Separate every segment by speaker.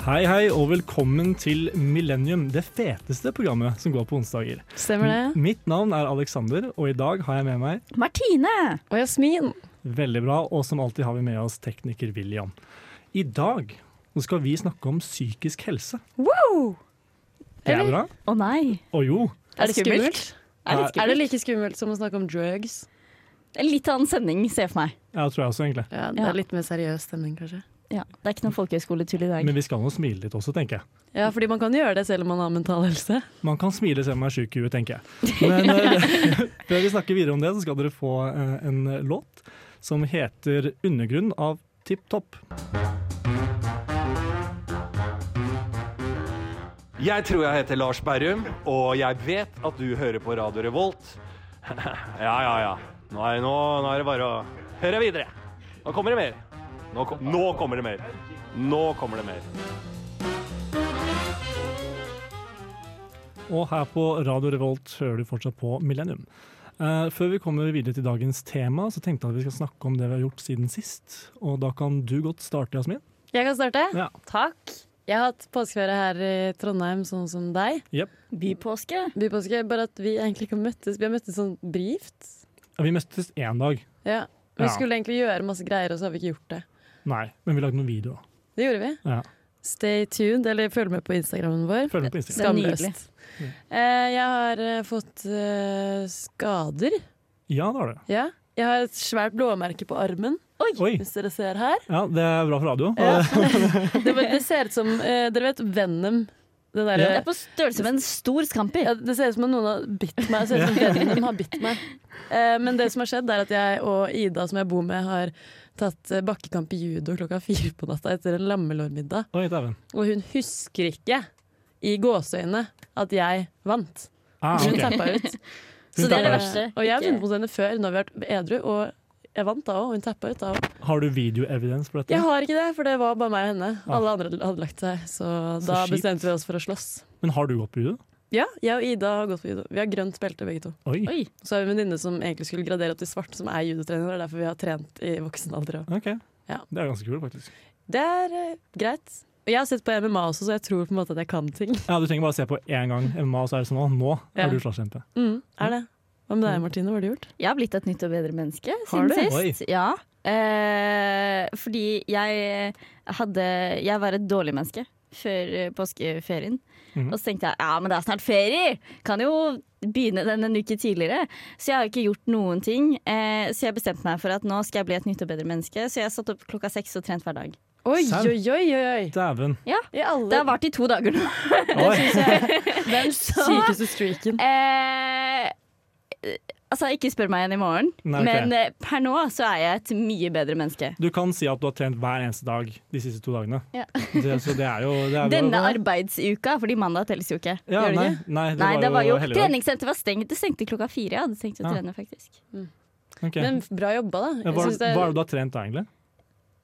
Speaker 1: Hei, hei, og velkommen til Millennium, det feteste programmet som går på onsdager.
Speaker 2: Stemmer det.
Speaker 1: Mitt navn er Alexander, og i dag har jeg med meg
Speaker 3: Martine!
Speaker 2: Og Jasmin.
Speaker 1: veldig bra, og som alltid har vi med oss tekniker William. I dag så skal vi snakke om psykisk helse.
Speaker 3: Wow!
Speaker 1: Det er
Speaker 2: Eller?
Speaker 1: bra.
Speaker 3: Å nei.
Speaker 1: Og jo,
Speaker 2: Er det skummelt?
Speaker 3: Er det, skummelt?
Speaker 2: Er det like skummelt som å snakke om drugs?
Speaker 3: En litt annen sending, ser jeg for meg.
Speaker 1: jeg tror jeg også egentlig.
Speaker 2: Ja, Det
Speaker 3: Ja.
Speaker 2: er litt mer seriøs stemning, kanskje.
Speaker 3: Ja, det er ikke noe folkehøyskoletull i dag.
Speaker 1: Men vi skal nå smile litt også, tenker jeg.
Speaker 2: Ja, fordi man kan gjøre det selv om man har mental helse.
Speaker 1: Man kan smile selv om man er syk i huet, tenker jeg. Men eh, før vi snakker videre om det, så skal dere få eh, en låt som heter 'Undergrunn' av Tipp Topp.
Speaker 4: Jeg tror jeg heter Lars Berrum, og jeg vet at du hører på Radio Revolt. ja, ja, ja. Nå er, nå, nå er det bare å høre videre. Nå kommer det mer. Nå, kom, nå kommer det mer. Nå kommer det mer.
Speaker 1: Og her på Radio Revolt hører du fortsatt på Millennium. Eh, før vi kommer videre til dagens tema, så tenkte jeg at vi skal snakke om det vi har gjort siden sist. Og da kan du godt starte, Jasmin.
Speaker 2: Jeg kan starte.
Speaker 1: Ja.
Speaker 2: Takk. Jeg har hatt påskeferie her i Trondheim, sånn som deg.
Speaker 3: Bypåske.
Speaker 2: Bypåske, Bare at vi egentlig ikke har møttes. Vi har møttes sånn brivt.
Speaker 1: Vi møttes én dag.
Speaker 2: Ja. Vi
Speaker 1: Ja.
Speaker 2: skulle egentlig gjøre masse greier, og så har vi ikke gjort det.
Speaker 1: Nei, men vi lagde noen videoer.
Speaker 2: Det gjorde vi.
Speaker 1: Ja.
Speaker 2: Stay tuned, eller følg med på Instagrammen vår.
Speaker 1: Følg med på Instagram.
Speaker 3: Det er
Speaker 2: Skamløst. Eh, jeg har eh, fått eh, skader.
Speaker 1: Ja, det har du.
Speaker 2: Ja. Jeg har et svært blåmerke på armen,
Speaker 1: Oi!
Speaker 2: hvis dere ser her.
Speaker 1: Ja, det er bra for radio.
Speaker 2: Ja. Det, var- det ser ut som eh, Dere vet Venom? Det, der,
Speaker 3: Det er på størrelse med en stor scampi.
Speaker 2: ja, det ser ut som om noen har bitt meg. Det ser ut som Venom har bitt meg. Eh, men det som har skjedd, er at jeg og Ida, som jeg bor med, har tatt eh, bakkekamp i judo klokka fire på natta etter en lammelårmiddag.
Speaker 1: Oi, dæven.
Speaker 2: Og hun husker ikke, i gåseøynene, at jeg vant.
Speaker 1: Ah,
Speaker 2: Hun
Speaker 1: ok.
Speaker 2: tappa ut. Eh,
Speaker 3: Så det er det
Speaker 1: tapper.
Speaker 3: verste.
Speaker 2: Og jeg har
Speaker 3: Ikke-
Speaker 2: vunnet mot henne før, når vi har vært edru. Og jeg vant da òg, og hun tappa ut da òg.
Speaker 1: Har du videoevidens på dette?
Speaker 2: Jeg har ikke det, for det var bare meg og henne.
Speaker 1: Ah.
Speaker 2: Alle andre hadde lagt seg, så,
Speaker 1: Så
Speaker 2: da
Speaker 1: kjipt.
Speaker 2: bestemte vi oss for å slåss.
Speaker 1: Men har du gått på video?
Speaker 2: Ja, jeg og Ida har gått på judo. Vi har grønt belte begge to.
Speaker 1: Oi.
Speaker 3: Oi.
Speaker 2: Så har vi en venninne som egentlig skulle gradere opp til svart, som er judotrener. Det er derfor vi har trent i voksen alder òg.
Speaker 1: Ok.
Speaker 2: Ja.
Speaker 1: Det er ganske kult, faktisk.
Speaker 2: Det er eh, greit. Og jeg har sett på MMA også, så jeg tror på en måte at jeg kan ting.
Speaker 1: Ja, Du trenger bare se på én gang MMA, og så er det sånn «Å, nå
Speaker 2: Ja.
Speaker 1: er du slåsskjempe.
Speaker 2: Mm, er det. Hva med deg, Martine? Hva har du gjort?
Speaker 3: Jeg har blitt et nytt og bedre menneske
Speaker 2: Har
Speaker 3: siden
Speaker 2: du?
Speaker 3: sist. Ja. Eh, fordi jeg hadde Jeg var et dårlig menneske før eh, påskeferien.
Speaker 1: Mhm.
Speaker 3: Og så tenkte jeg ja, men det er snart ferie! Kan jo begynne den en uke tidligere. Så jeg har jo ikke gjort noen ting. Eh, så jeg bestemte meg for at nå skal jeg bli et nytt og bedre menneske. Så jeg satt opp klokka seks og trent hver dag.
Speaker 2: Oi,
Speaker 1: Sant.
Speaker 2: oi, oi! oi.
Speaker 1: Dæven.
Speaker 2: I alle
Speaker 3: Det har vart i to dager nå.
Speaker 1: Oi.
Speaker 2: den sykeste streaken.
Speaker 3: Eh, altså, ikke spør meg igjen i morgen,
Speaker 1: Nei, ok.
Speaker 3: men eh, per nå så er jeg et mye bedre menneske.
Speaker 1: Du kan si at du har trent hver eneste dag de siste to dagene.
Speaker 3: Ja.
Speaker 1: Det, så det er jo det er jo-
Speaker 3: Denne arbeidsuka, fordi mandag telles jo ikke.
Speaker 1: ja,
Speaker 2: gjør det
Speaker 1: nei, nei, det
Speaker 3: Nei,
Speaker 1: var
Speaker 3: det var jo
Speaker 1: helligdag.
Speaker 3: Treningssenteret var stengt. Det stengte klokka fire. Jeg hadde tenkt å
Speaker 1: Ja.
Speaker 3: trene, faktisk.
Speaker 1: Ok.
Speaker 2: Men bra jobba, da.
Speaker 1: Men
Speaker 2: Jeg
Speaker 1: hva,
Speaker 2: synes det
Speaker 1: hva er
Speaker 2: er
Speaker 1: det du har trent da, egentlig?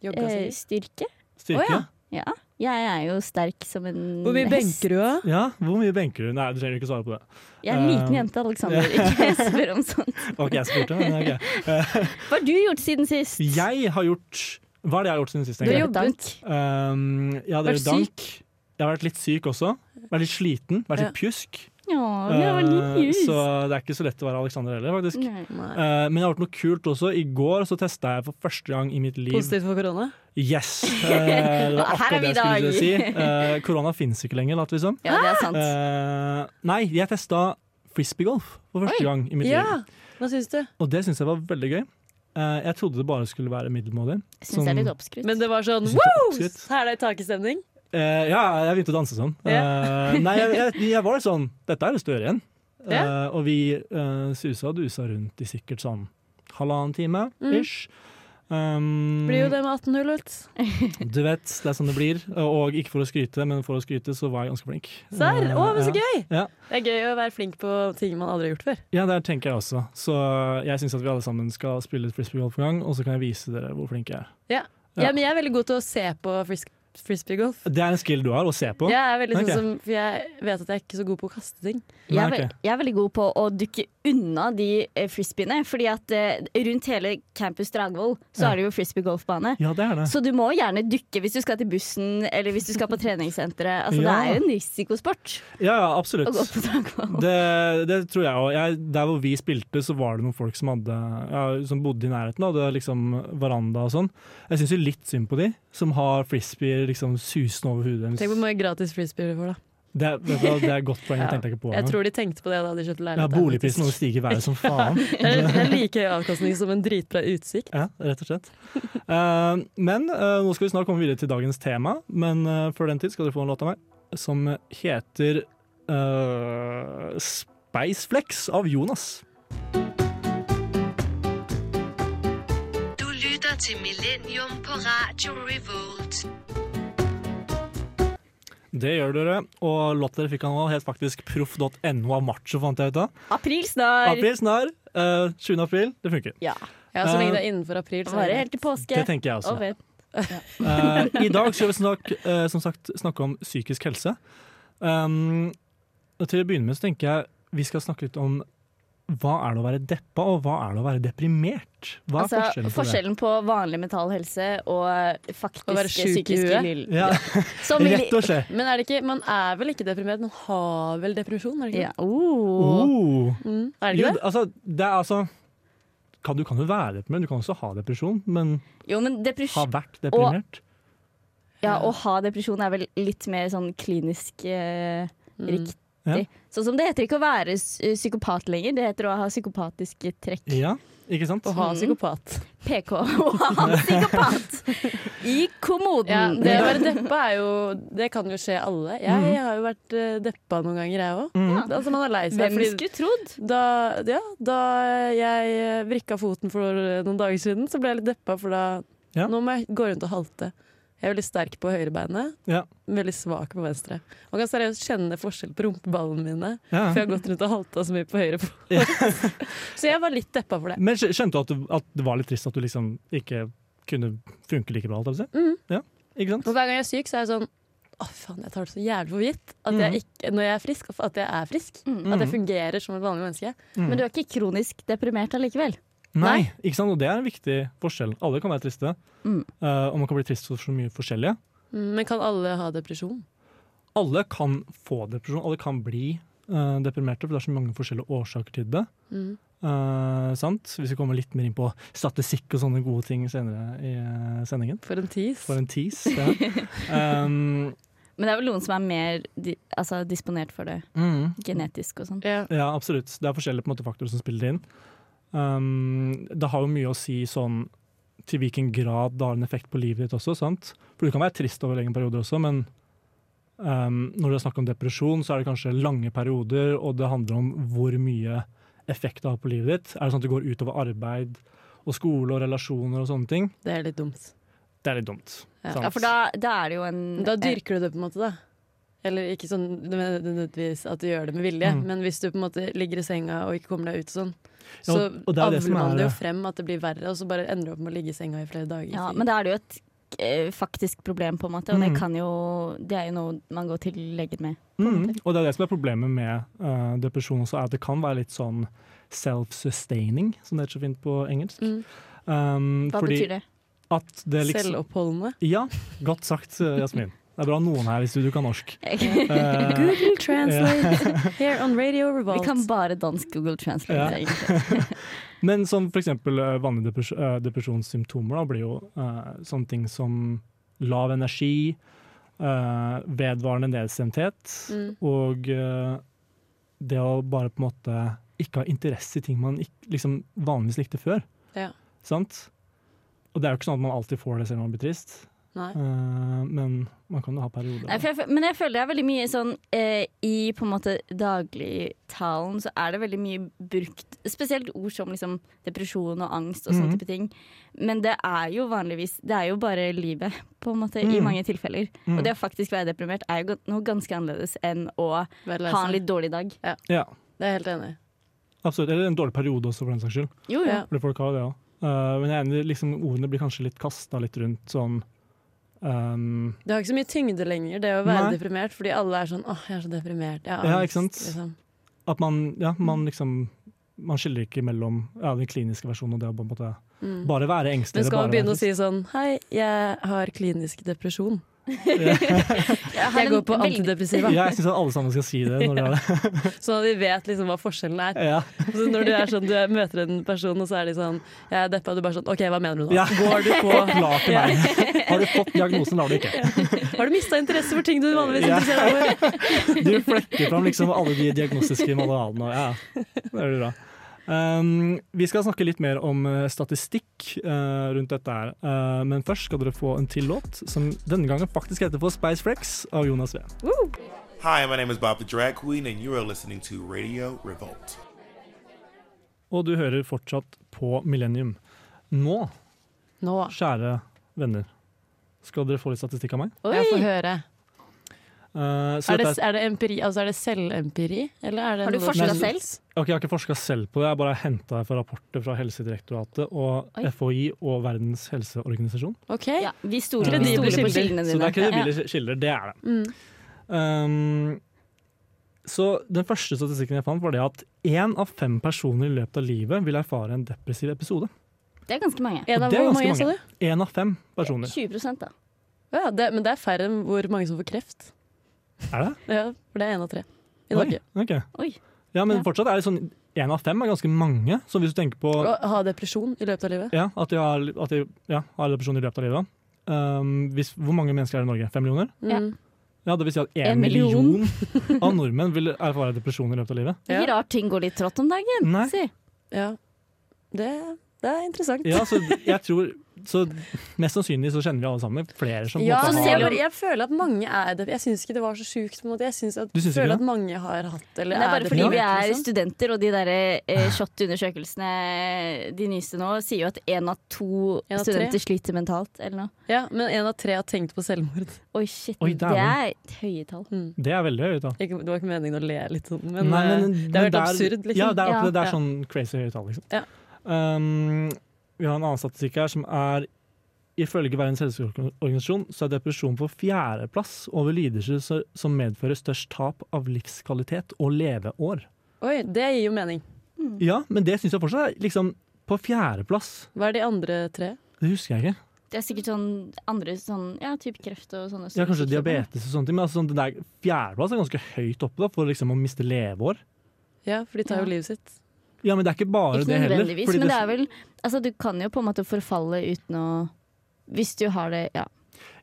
Speaker 2: jogga
Speaker 3: Eh,
Speaker 2: sikkert.
Speaker 3: styrke?
Speaker 1: Styrke?
Speaker 2: Å,
Speaker 1: ja.
Speaker 2: ja.
Speaker 3: Ja. Jeg er jo sterk som en
Speaker 2: Eh, Hvor mye
Speaker 3: hest.
Speaker 2: benker du, da?
Speaker 1: Hvor mye benker du? Nei, du trenger ikke svare på det.
Speaker 3: Jeg er en liten
Speaker 1: Eh,
Speaker 3: jente, Alexander. Ikke spør om sånt.
Speaker 1: Ok, jeg spurte, men ok.
Speaker 3: Hva har du gjort siden sist?
Speaker 1: Jeg har gjort Hva er det jeg har gjort siden sist?
Speaker 2: Du har
Speaker 1: egentlig?
Speaker 2: jobbet.
Speaker 1: Um, jeg har
Speaker 2: Vært
Speaker 1: drevet dank. Jeg har vært litt syk også. Vært litt sliten. Vært litt pjusk.
Speaker 3: Ja, det var
Speaker 1: Eh,
Speaker 3: litt
Speaker 1: så det er ikke så lett å være Alexander heller, faktisk.
Speaker 3: Nei.
Speaker 2: Nei.
Speaker 1: Eh, men jeg har gjort noe kult også. I går så testa jeg for første gang i mitt liv
Speaker 2: Positivt for korona?
Speaker 1: Yes! eh, det var
Speaker 3: Her er
Speaker 1: akkurat det
Speaker 3: vi
Speaker 1: jeg skulle
Speaker 3: dag.
Speaker 1: si. Eh, Korona fins ikke lenger, later vi som.
Speaker 3: Ja, det er sant.
Speaker 1: Ah! Eh, nei, jeg testa frisbeegolf for første
Speaker 3: Oi.
Speaker 1: gang i mitt liv.
Speaker 2: Ja! Hva syns du?
Speaker 1: Og det syns jeg var veldig gøy. Eh, jeg trodde det bare skulle være middelmådig.
Speaker 3: Jeg syns det er
Speaker 1: som-
Speaker 3: litt oppskrytt.
Speaker 2: Men det var sånn
Speaker 1: Jeg synes det er
Speaker 2: wow!
Speaker 1: oppskrytt.
Speaker 2: Her er det takestemning.
Speaker 1: Eh, ja, jeg begynte å danse sånn. Eh, nei, jeg, jeg, jeg var sånn Dette har jeg lyst til å gjøre igjen. Eh, og vi eh, susa og dusa rundt i sikkert sånn halvannen time
Speaker 3: Mm.
Speaker 1: ish. Um,
Speaker 2: Blir jo det med 18 hull, vet du.
Speaker 1: Du vet, det er sånn det blir. Og ikke for å skryte, men for å skryte så var jeg ganske flink. Eh,
Speaker 2: Serr? Å, men så
Speaker 1: Ja.
Speaker 2: gøy!
Speaker 1: Ja.
Speaker 2: Det er gøy å være flink på ting man aldri har gjort før.
Speaker 1: Ja, det tenker jeg også. Så eh, jeg syns at vi alle sammen skal spille litt frisbeegolf en gang, og så kan jeg vise dere hvor flink jeg er.
Speaker 2: Ja.
Speaker 1: Ja.
Speaker 2: men jeg er veldig god til å se på frisk frisbeegolf.
Speaker 1: Det er en skill du har å se på?
Speaker 2: Jeg er veldig
Speaker 1: Ok.
Speaker 2: sånn som, for jeg vet at jeg er ikke så god på å kaste ting.
Speaker 3: Jeg er,
Speaker 1: Nei,
Speaker 3: vel-
Speaker 1: ok.
Speaker 3: jeg er veldig god på å dukke unna de eh, frisbeene. Fordi at eh, rundt hele campus Dragvoll så
Speaker 1: Ja.
Speaker 3: er det jo frisbee-golfbane.
Speaker 1: Ja, det er det.
Speaker 3: Så du må gjerne dukke hvis du skal til bussen eller hvis du skal på treningssenteret. Altså, Det
Speaker 1: Ja.
Speaker 3: er jo en risikosport
Speaker 1: Ja, ja,
Speaker 3: å gå
Speaker 1: absolutt.
Speaker 3: på Dragvoll.
Speaker 1: Det, det tror jeg òg. Jeg- Der hvor vi spilte, så var det noen folk som, hadde, ja, som bodde i nærheten. og Hadde liksom veranda og sånn. Jeg syns jo litt synd på de som har frisbeer liksom susende over hodet deres.
Speaker 2: Tenk hvor mye gratis frisbee du får, da.
Speaker 1: Det, er- vet du hva, det er et godt poeng,
Speaker 2: Ja.
Speaker 1: det tenkte jeg ikke på.
Speaker 2: Jeg
Speaker 1: engang.
Speaker 2: tror de tenkte på det da de kjøpte
Speaker 1: ja,
Speaker 2: leilighet. der,
Speaker 1: Boligprisen nå
Speaker 2: faktisk.
Speaker 1: stiger i været som faen.
Speaker 2: det er, det er like høy avkastning som en dritbra utsikt.
Speaker 1: Ja, rett og slett. Eh, men eh, nå skal vi snart komme videre til dagens tema, men eh, før den tid skal dere få en låt av meg som heter eh, Speisflex av Jonas.
Speaker 5: Du lytter til Millennium på Radio Revolt.
Speaker 1: Det gjør dere, og låta dere fikk av nå het faktisk proff.no av macho, fant jeg ut av.
Speaker 3: April snart!
Speaker 1: April snar. eh, 20. april, det funker.
Speaker 3: Ja.
Speaker 2: Ja, Så lenge det er innenfor april. Så er
Speaker 3: Bare
Speaker 2: det
Speaker 3: helt til påske.
Speaker 1: Det tenker jeg også.
Speaker 3: Og vent.
Speaker 1: Eh, I dag skal vi snak, eh, som sagt snakke om psykisk helse. Um, og til å begynne med så tenker jeg vi skal snakke litt om hva er det å være deppa, og hva er det å være deprimert? Hva er
Speaker 3: Altså,
Speaker 1: forskjellen på
Speaker 3: forskjellen på vanlig mental helse og faktisk
Speaker 2: Å være sjuk i
Speaker 3: psykisk
Speaker 2: huet.
Speaker 1: det? Ja,
Speaker 3: Som vil-
Speaker 1: rett og slett.
Speaker 2: Men er det ikke, man er vel ikke deprimert, man har vel depresjon? Er det ikke
Speaker 3: Ja. Oh.
Speaker 1: Oh.
Speaker 2: det? Mm, er det
Speaker 1: Jo,
Speaker 2: ikke det?
Speaker 1: altså, det er altså kan, Du kan jo være deprimert, du kan også ha depresjon, men
Speaker 3: Jo, men
Speaker 1: ha
Speaker 3: depresjon
Speaker 1: vært deprimert?
Speaker 3: Ja, å ha depresjon er vel litt mer sånn klinisk eh,
Speaker 2: Mm.
Speaker 3: riktig.
Speaker 1: Ja.
Speaker 3: Sånn som det heter ikke å være s- eh, psykopat lenger, det heter å ha psykopatiske trekk.
Speaker 1: Ja, ikke sant?
Speaker 2: Å ha psykopat.
Speaker 3: PK. Å ha psykopat i kommoden.
Speaker 2: Ja,
Speaker 1: Mm.
Speaker 2: det å være deppa er jo Det kan jo skje alle. Jeg, har jo vært eh, deppa noen ganger, jeg òg.
Speaker 1: Mm.
Speaker 2: Altså, man er lei seg.
Speaker 3: Hvem
Speaker 2: fordi-
Speaker 3: skulle trodd?
Speaker 2: da, ja, da jeg eh, vrikka foten for eh, noen dager siden, så ble jeg litt deppa, for da
Speaker 1: Ja.
Speaker 2: Nå må jeg gå rundt og halte. Jeg er veldig sterk på høyrebeinet,
Speaker 1: Ja.
Speaker 2: veldig svak på venstre. Man kan seriøst kjenne forskjell på rumpeballene mine,
Speaker 1: Ja.
Speaker 2: for jeg har gått rundt og halta så mye på høyre fot. så jeg var litt deppa for det.
Speaker 1: Men skj- skjønte du at, du at det var litt trist at du liksom ikke kunne funke like bra? alt jeg vil si?
Speaker 2: Mm.
Speaker 1: Ja, ikke
Speaker 2: Og
Speaker 1: sant?
Speaker 2: hver gang jeg er syk, så er jeg sånn Å, faen, jeg tar det så jævlig for gitt at
Speaker 1: Mm.
Speaker 2: jeg ikke, når jeg er frisk. At jeg er frisk.
Speaker 3: Mm.
Speaker 2: At jeg fungerer som et vanlig menneske.
Speaker 1: Mm.
Speaker 3: Men du er ikke kronisk deprimert allikevel.
Speaker 1: Nei, ikke sant? Og det er en viktig forskjell. Alle kan være triste, eh, og man kan bli trist for så mye forskjellige.
Speaker 2: Mm, Men kan alle ha depresjon?
Speaker 1: Alle kan få depresjon, alle kan bli eh, deprimerte, for det er så mange forskjellige årsaker til det.
Speaker 2: Mm,
Speaker 1: Eh, sant? Vi skal komme litt mer inn på statistikk og sånne gode ting senere i eh, sendingen.
Speaker 2: For en tis.
Speaker 1: For en tease. Ja. Um,
Speaker 3: Men det er vel noen som er mer di altså, disponert for det
Speaker 1: mm.
Speaker 3: genetisk og sånn.
Speaker 2: Ja.
Speaker 1: Ja, absolutt. Det er forskjellige på en måte, faktorer som spiller inn. Um, det har jo mye å si sånn til hvilken grad det har en effekt på livet ditt også. sant? For du kan være trist over lenge perioder også, men um, når det er snakk om depresjon, så er det kanskje lange perioder, og det handler om hvor mye effekt det har på livet ditt. Er det sånn at det går utover arbeid og skole og relasjoner og sånne ting?
Speaker 2: Det er litt dumt.
Speaker 1: Det er litt dumt.
Speaker 2: Ja.
Speaker 1: sant?
Speaker 3: Ja, for da, da er det jo en eh,
Speaker 2: Da dyrker du det på en måte, da. Eller ikke sånn nødvendigvis at du gjør det med vilje,
Speaker 1: Mm.
Speaker 2: men hvis du på en måte ligger i senga og ikke kommer deg ut og sånn,
Speaker 1: Ja,
Speaker 2: så
Speaker 1: og det er det
Speaker 2: avler
Speaker 1: som
Speaker 2: man
Speaker 1: er-
Speaker 2: det jo frem at det blir verre, og så bare ender du opp med å ligge i senga i flere dager.
Speaker 3: Ja, men da er det jo et eh, faktisk problem, på en måte. Og det, kan jo, det er jo noe man går til legen med.
Speaker 1: Mm, og det er det som er problemet med eh, depresjon også, er at det kan være litt sånn self-sustaining, som det heter så fint på engelsk.
Speaker 2: Mm.
Speaker 1: Um,
Speaker 3: Hva
Speaker 1: fordi
Speaker 3: betyr det?
Speaker 1: At det liksom,
Speaker 2: Selvoppholdende.
Speaker 1: ja, godt sagt, eh, Jasmin. Det er bra noen her i studio kan norsk. Eh,
Speaker 2: Google translate here on Radio
Speaker 3: Vi
Speaker 2: Revolt.
Speaker 3: kan bare dansk Google Translate.
Speaker 1: Ja.
Speaker 3: egentlig.
Speaker 1: men som for eksempel eh, vanlige depres eh, depresjonssymptomer da, blir jo eh, sånne ting som lav energi, eh, vedvarende nedstemthet
Speaker 2: Mm.
Speaker 1: og eh, det å bare på en måte ikke ha interesse i ting man ikk- liksom vanligvis likte før.
Speaker 2: Ja.
Speaker 1: Sant? Og det er jo ikke sånn at man alltid får det selv om man blir trist,
Speaker 2: Nei.
Speaker 1: eh, men man kan jo ha perioder.
Speaker 3: Nei, for jeg, fø- men jeg føler det er veldig mye sånn eh, i på en måte dagligtalen så er det veldig mye brukt Spesielt ord som liksom depresjon og angst og sånne
Speaker 1: Mhm.
Speaker 3: type ting. Men det er jo vanligvis Det er jo bare livet, på en måte, i
Speaker 1: Mhm.
Speaker 3: mange tilfeller.
Speaker 1: Mhm.
Speaker 3: Og det å faktisk være deprimert er jo gan- noe ganske annerledes enn å
Speaker 2: Vær lei
Speaker 3: ha
Speaker 2: seg.
Speaker 3: en litt dårlig dag.
Speaker 1: Ja,
Speaker 2: Det er jeg helt enig. i.
Speaker 1: absolutt. Eller en dårlig periode også, for den saks skyld.
Speaker 3: Jo, jo.
Speaker 2: Ja.
Speaker 1: Fordi folk har jo det også. Eh, men jeg er enig, liksom, ordene blir kanskje litt kasta litt rundt sånn Um,
Speaker 2: Det har ikke så mye tyngde lenger, det å være
Speaker 1: Nei.
Speaker 2: deprimert, fordi alle er sånn 'Åh, jeg er så deprimert', jeg har
Speaker 1: Ja,
Speaker 2: angst',
Speaker 1: ikke sant?
Speaker 2: liksom.
Speaker 1: at man, ja,
Speaker 2: Mm.
Speaker 1: man liksom Man skiller ikke mellom ja, den kliniske versjonen og det å på en måte
Speaker 2: Mm.
Speaker 1: bare være engstelig.
Speaker 2: Men skal man
Speaker 1: eller
Speaker 2: begynne
Speaker 1: bare
Speaker 2: å si sånn 'Hei, jeg har klinisk depresjon'.
Speaker 3: Jeg, har
Speaker 2: Jeg går
Speaker 3: en
Speaker 2: på
Speaker 3: veldig-
Speaker 2: antidepressiva.
Speaker 1: ja, jeg syns alle sammen skal si det. Når det, er det.
Speaker 2: Sånn at vi vet liksom hva forskjellen er.
Speaker 1: Ja.
Speaker 2: Så når du, er sånn, du er- møter en person, og så er de sånn 'Jeg er deppa', og du bare sånn 'OK, hva mener du nå?'
Speaker 1: Ja. Går du på Klar til meg. Har du fått diagnosen, eller har du ikke?
Speaker 2: Har du mista interesse for ting du vanligvis
Speaker 1: Ja.
Speaker 2: interesserer deg for?
Speaker 1: Du flekker fram liksom alle de diagnostiske manualene. og Ja, det er bra. Um, vi skal snakke litt mer om eh, statistikk eh, rundt dette her. Eh, men først skal dere få en til låt, som denne gangen faktisk heter for Spice Flex av Jonas V.
Speaker 6: Hi, my name is Bob the Drag Queen, and you are listening to Radio Revolt.
Speaker 1: Og du hører fortsatt på Millennium. Nå,
Speaker 2: Nå.
Speaker 1: kjære venner, skal dere få litt statistikk av meg.
Speaker 2: Oi. Jeg får høre.
Speaker 1: Eh, så
Speaker 2: Er det,
Speaker 1: dette
Speaker 2: er det empiri, altså er det selvempiri? Eller er det
Speaker 3: Har du
Speaker 2: noe-
Speaker 3: forsket
Speaker 1: Nei,
Speaker 3: selv?
Speaker 1: Ok, Jeg har ikke forska selv på det, jeg har bare henta det fra rapporter fra Helsedirektoratet og
Speaker 3: Oi.
Speaker 1: FHI og Verdens helseorganisasjon.
Speaker 2: Ok,
Speaker 3: Ja, vi stoler, vi
Speaker 1: Kredible
Speaker 3: stoler på
Speaker 2: kilder.
Speaker 3: kildene dine.
Speaker 1: Så det er
Speaker 3: Ja.
Speaker 1: kredibile kilder, det er det.
Speaker 2: Mm.
Speaker 1: Um, så den første statistikken jeg fant, var det at én av fem personer i løpet av livet vil erfare en depressiv episode.
Speaker 3: Det er ganske mange.
Speaker 2: En av
Speaker 1: Det er
Speaker 2: hvor
Speaker 1: ganske
Speaker 2: mange, sa
Speaker 1: mange.
Speaker 2: du?
Speaker 1: Én av fem personer.
Speaker 3: 20 da.
Speaker 2: Ja, det, men det er færre enn hvor mange som får kreft.
Speaker 1: Er det?
Speaker 2: Ja, for det er én av tre i
Speaker 1: Oi,
Speaker 2: Norge.
Speaker 1: ok.
Speaker 3: Oi.
Speaker 1: Ja, men
Speaker 3: Ja.
Speaker 1: fortsatt er det sånn én av fem er ganske mange. Så hvis du tenker på
Speaker 2: Å ha depresjon i løpet av livet.
Speaker 1: ja, at de har, at de, ja, har depresjon i løpet av livet um, hvis, Hvor mange mennesker er det i Norge? Fem millioner?
Speaker 3: Ja.
Speaker 2: Mm.
Speaker 1: Ja, det vil si at
Speaker 3: En
Speaker 1: én million. av nordmenn vil erfare depresjon i løpet av livet.
Speaker 2: Ja.
Speaker 3: Ikke rart ting går litt trått om dagen.
Speaker 1: Nei.
Speaker 3: Si.
Speaker 2: Ja. Det, det er interessant.
Speaker 1: Ja, så jeg tror Så mest sannsynlig så kjenner vi alle sammen flere som
Speaker 2: Ja,
Speaker 1: på en
Speaker 2: så
Speaker 1: måte
Speaker 2: jeg,
Speaker 1: har
Speaker 2: bare, jeg føler at mange er det. Jeg syns ikke det var så sjukt. på en måte. Jeg synes at,
Speaker 1: Du syns ikke det?
Speaker 2: føler at mange har hatt eller
Speaker 3: Det er bare fordi
Speaker 2: deprimert,
Speaker 3: vi er
Speaker 2: liksom.
Speaker 3: studenter, og de der
Speaker 1: Ah.
Speaker 3: eh, SHoT-undersøkelsene de nyeste nå sier jo at én av to
Speaker 2: En av tre.
Speaker 3: studenter sliter mentalt, eller noe.
Speaker 2: Ja, Men én av tre har tenkt på selvmord. Mm.
Speaker 3: Oi, shit.
Speaker 1: Oi,
Speaker 3: det
Speaker 1: dæven.
Speaker 3: er et høye tall.
Speaker 1: Det er veldig høyt, da.
Speaker 2: Ikke, det var ikke meningen å le litt sånn, men,
Speaker 1: Nei, men-
Speaker 2: eh, det
Speaker 1: men
Speaker 2: har vært absurd, liksom.
Speaker 1: Ja, det er, akkurat-
Speaker 3: Ja.
Speaker 1: det er
Speaker 2: Ja.
Speaker 1: sånn crazy høye tall, liksom.
Speaker 2: Ja.
Speaker 1: Um, vi har en annen statistikk her som er Ifølge Verdens helseorganisasjon så er depresjon på fjerdeplass over lidelser så- som medfører størst tap av livskvalitet og leveår.
Speaker 2: eh, Oi, det gir jo mening.
Speaker 3: Hmm.
Speaker 1: Ja, men det syns jeg fortsatt er liksom på fjerdeplass.
Speaker 2: Hva er de andre tre?
Speaker 1: Det husker jeg ikke.
Speaker 3: Det er sikkert sånn andre sånn ja, type kreft og sånne.
Speaker 1: Ja, Kanskje
Speaker 3: sykdommer.
Speaker 1: diabetes og sånne ting, men altså, sånn, det der fjerdeplass er ganske høyt oppe da, for liksom å miste leveår.
Speaker 2: Ja, for de tar jo
Speaker 3: Ja.
Speaker 2: livet sitt.
Speaker 1: Ja, men det er ikke bare
Speaker 3: Ikke
Speaker 1: det heller.
Speaker 3: nødvendigvis,
Speaker 1: fordi
Speaker 3: men det er vel Altså, du kan jo på en måte forfalle uten å Hvis du har det, ja.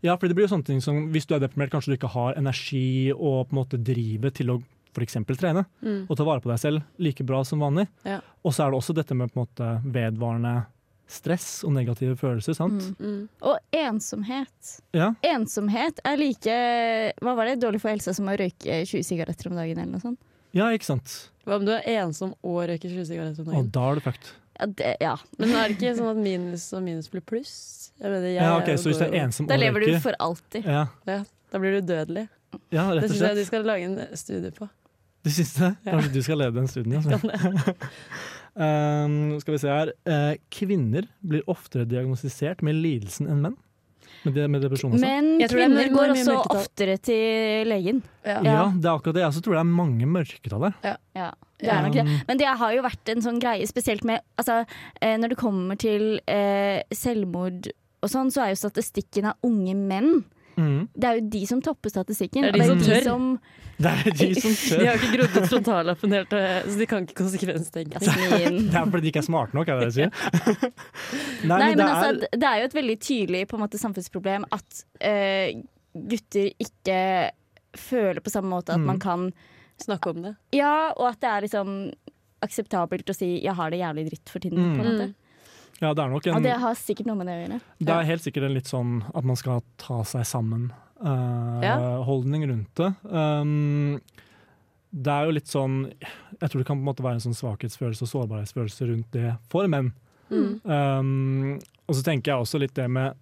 Speaker 1: Ja, for det blir jo sånne ting som hvis du er deprimert, kanskje du ikke har energi og på en måte drivet til å f.eks. trene
Speaker 2: Mm.
Speaker 1: og ta vare på deg selv like bra som vanlig.
Speaker 2: Ja.
Speaker 1: Og så er det også dette med på en måte vedvarende stress og negative følelser, sant?
Speaker 2: Mm.
Speaker 3: Mm. Og ensomhet.
Speaker 1: Ja.
Speaker 3: Ensomhet er like Hva var det? Dårlig for helsa som å røyke 20 sigaretter om dagen, eller noe sånt.
Speaker 1: ja, ikke sant?
Speaker 2: Hva om du er ensom og røyker 20 sigaretter om
Speaker 1: Og
Speaker 2: dagen?
Speaker 1: da er det fucked.
Speaker 3: Ja, det, ja.
Speaker 2: Men er det ikke sånn at minus og minus blir pluss? Jeg mener, jeg,
Speaker 1: Ja, ok,
Speaker 2: er jo
Speaker 1: Så hvis du
Speaker 2: går-
Speaker 1: er ensom
Speaker 3: Da
Speaker 1: og
Speaker 3: lever du
Speaker 1: røyker
Speaker 3: for alltid.
Speaker 1: ja.
Speaker 2: ja, Da blir du dødelig.
Speaker 1: ja,
Speaker 2: Det
Speaker 1: rett og
Speaker 2: syns jeg de
Speaker 1: slett.
Speaker 2: skal lage en studie på.
Speaker 1: Du syns det? Kanskje du skal lede den studien? Altså. um, skal vi se her. Eh, kvinner blir oftere diagnostisert med lidelsen enn menn. Med, det, med depresjon
Speaker 2: sånn.
Speaker 1: også.
Speaker 3: Men
Speaker 2: Jeg tror det er
Speaker 3: kvinner
Speaker 2: menn
Speaker 3: går
Speaker 2: med mye
Speaker 3: også
Speaker 2: mørketall.
Speaker 3: oftere til legen.
Speaker 1: Ja. det er akkurat det. Jeg også tror det er mange mørketall der.
Speaker 3: Ja, det er nok det. Men det har jo vært en sånn greie, spesielt med altså, eh, Når det kommer til eh, selvmord og sånn, så er jo statistikken av unge menn
Speaker 1: Mm.
Speaker 3: Det er jo de som topper statistikken.
Speaker 2: Det er de
Speaker 3: og
Speaker 2: som tør.
Speaker 3: som-
Speaker 1: Det er de som
Speaker 2: De
Speaker 1: tør.
Speaker 2: har ikke grodd ut frontallappen helt, eh, så de kan ikke konsekvenstenke.
Speaker 3: Altså, min-
Speaker 1: Det er fordi de ikke er smarte nok, er det det du sier? Nei, men
Speaker 3: Nei, men
Speaker 1: det
Speaker 3: altså,
Speaker 1: er
Speaker 3: d- det er jo et veldig tydelig på en måte, samfunnsproblem at eh, gutter ikke føler på samme måte at
Speaker 1: Mm.
Speaker 3: man kan
Speaker 2: Snakke om det.
Speaker 3: Ja, og at det er liksom akseptabelt å si 'jeg har det jævlig dritt for tiden'.
Speaker 1: Mm.
Speaker 3: På en måte.
Speaker 1: Ja, det er nok
Speaker 3: Og
Speaker 1: en
Speaker 3: det har sikkert noe med det å gjøre.
Speaker 1: Det er helt sikkert en litt sånn at man skal ta seg
Speaker 2: Ja.
Speaker 1: sammen-holdning rundt det. Um, det er jo litt sånn Jeg tror det kan på en måte være en sånn svakhetsfølelse og sårbarhetsfølelse rundt det for menn.
Speaker 2: Mm.
Speaker 1: Um, og så tenker jeg også litt det med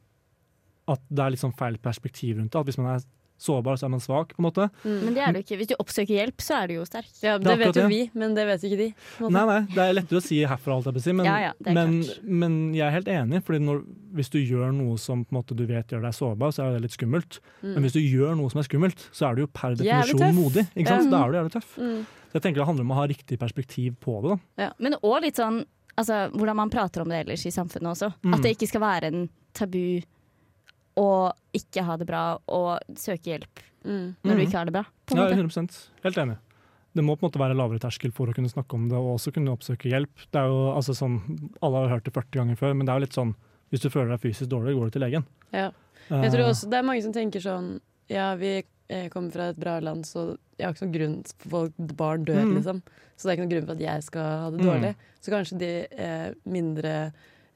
Speaker 1: at det er litt sånn feil perspektiv rundt det. At hvis man er sårbar, så er man svak, på en måte.
Speaker 3: Men det er du ikke. Hvis du oppsøker hjelp, så er du jo sterk.
Speaker 2: Ja,
Speaker 1: Det er
Speaker 2: det vet jo
Speaker 1: akkurat det.
Speaker 2: vi, men det vet jo ikke de. på en måte.
Speaker 1: Nei, nei, det er lettere å si herfra, alt jeg vil si, men,
Speaker 3: Ja, ja, det er
Speaker 1: men,
Speaker 3: klart.
Speaker 1: men jeg er helt enig. fordi når, hvis du gjør noe som på en måte, du vet gjør deg sårbar, så er det litt skummelt. Men hvis du gjør noe som er skummelt, så er du jo per
Speaker 2: Jævlig
Speaker 1: definisjon
Speaker 2: tøff.
Speaker 1: modig. Ikke sant?
Speaker 2: Ja.
Speaker 1: Da er du jævlig tøff.
Speaker 2: Mm.
Speaker 1: Så jeg tenker det handler om å ha riktig perspektiv på det. da.
Speaker 3: Men òg litt sånn altså, hvordan man prater om det ellers i samfunnet også.
Speaker 1: Mm.
Speaker 3: At det ikke skal være en tabu å ikke ha det bra og søke hjelp
Speaker 2: Mm.
Speaker 3: når du
Speaker 1: Mhm.
Speaker 3: ikke har det bra. På en
Speaker 1: Ja,
Speaker 3: måte.
Speaker 1: 100 Helt enig. Det må på en måte være lavere terskel for å kunne snakke om det og også kunne oppsøke hjelp. Det er jo, altså, sånn, Alle har hørt det 40 ganger før, men det er jo litt sånn hvis du føler deg fysisk dårlig, går du til legen. Eh,
Speaker 2: Ja. Jeg
Speaker 1: Ah.
Speaker 2: tror også det er mange som tenker sånn Ja, vi eh, kommer fra et bra land, så jeg har ikke noen grunn for folk, Barn dør,
Speaker 1: Mm.
Speaker 2: liksom. Så det er ikke noen grunn for at jeg skal ha det
Speaker 1: Mm.
Speaker 2: dårlig. Så kanskje de eh, mindre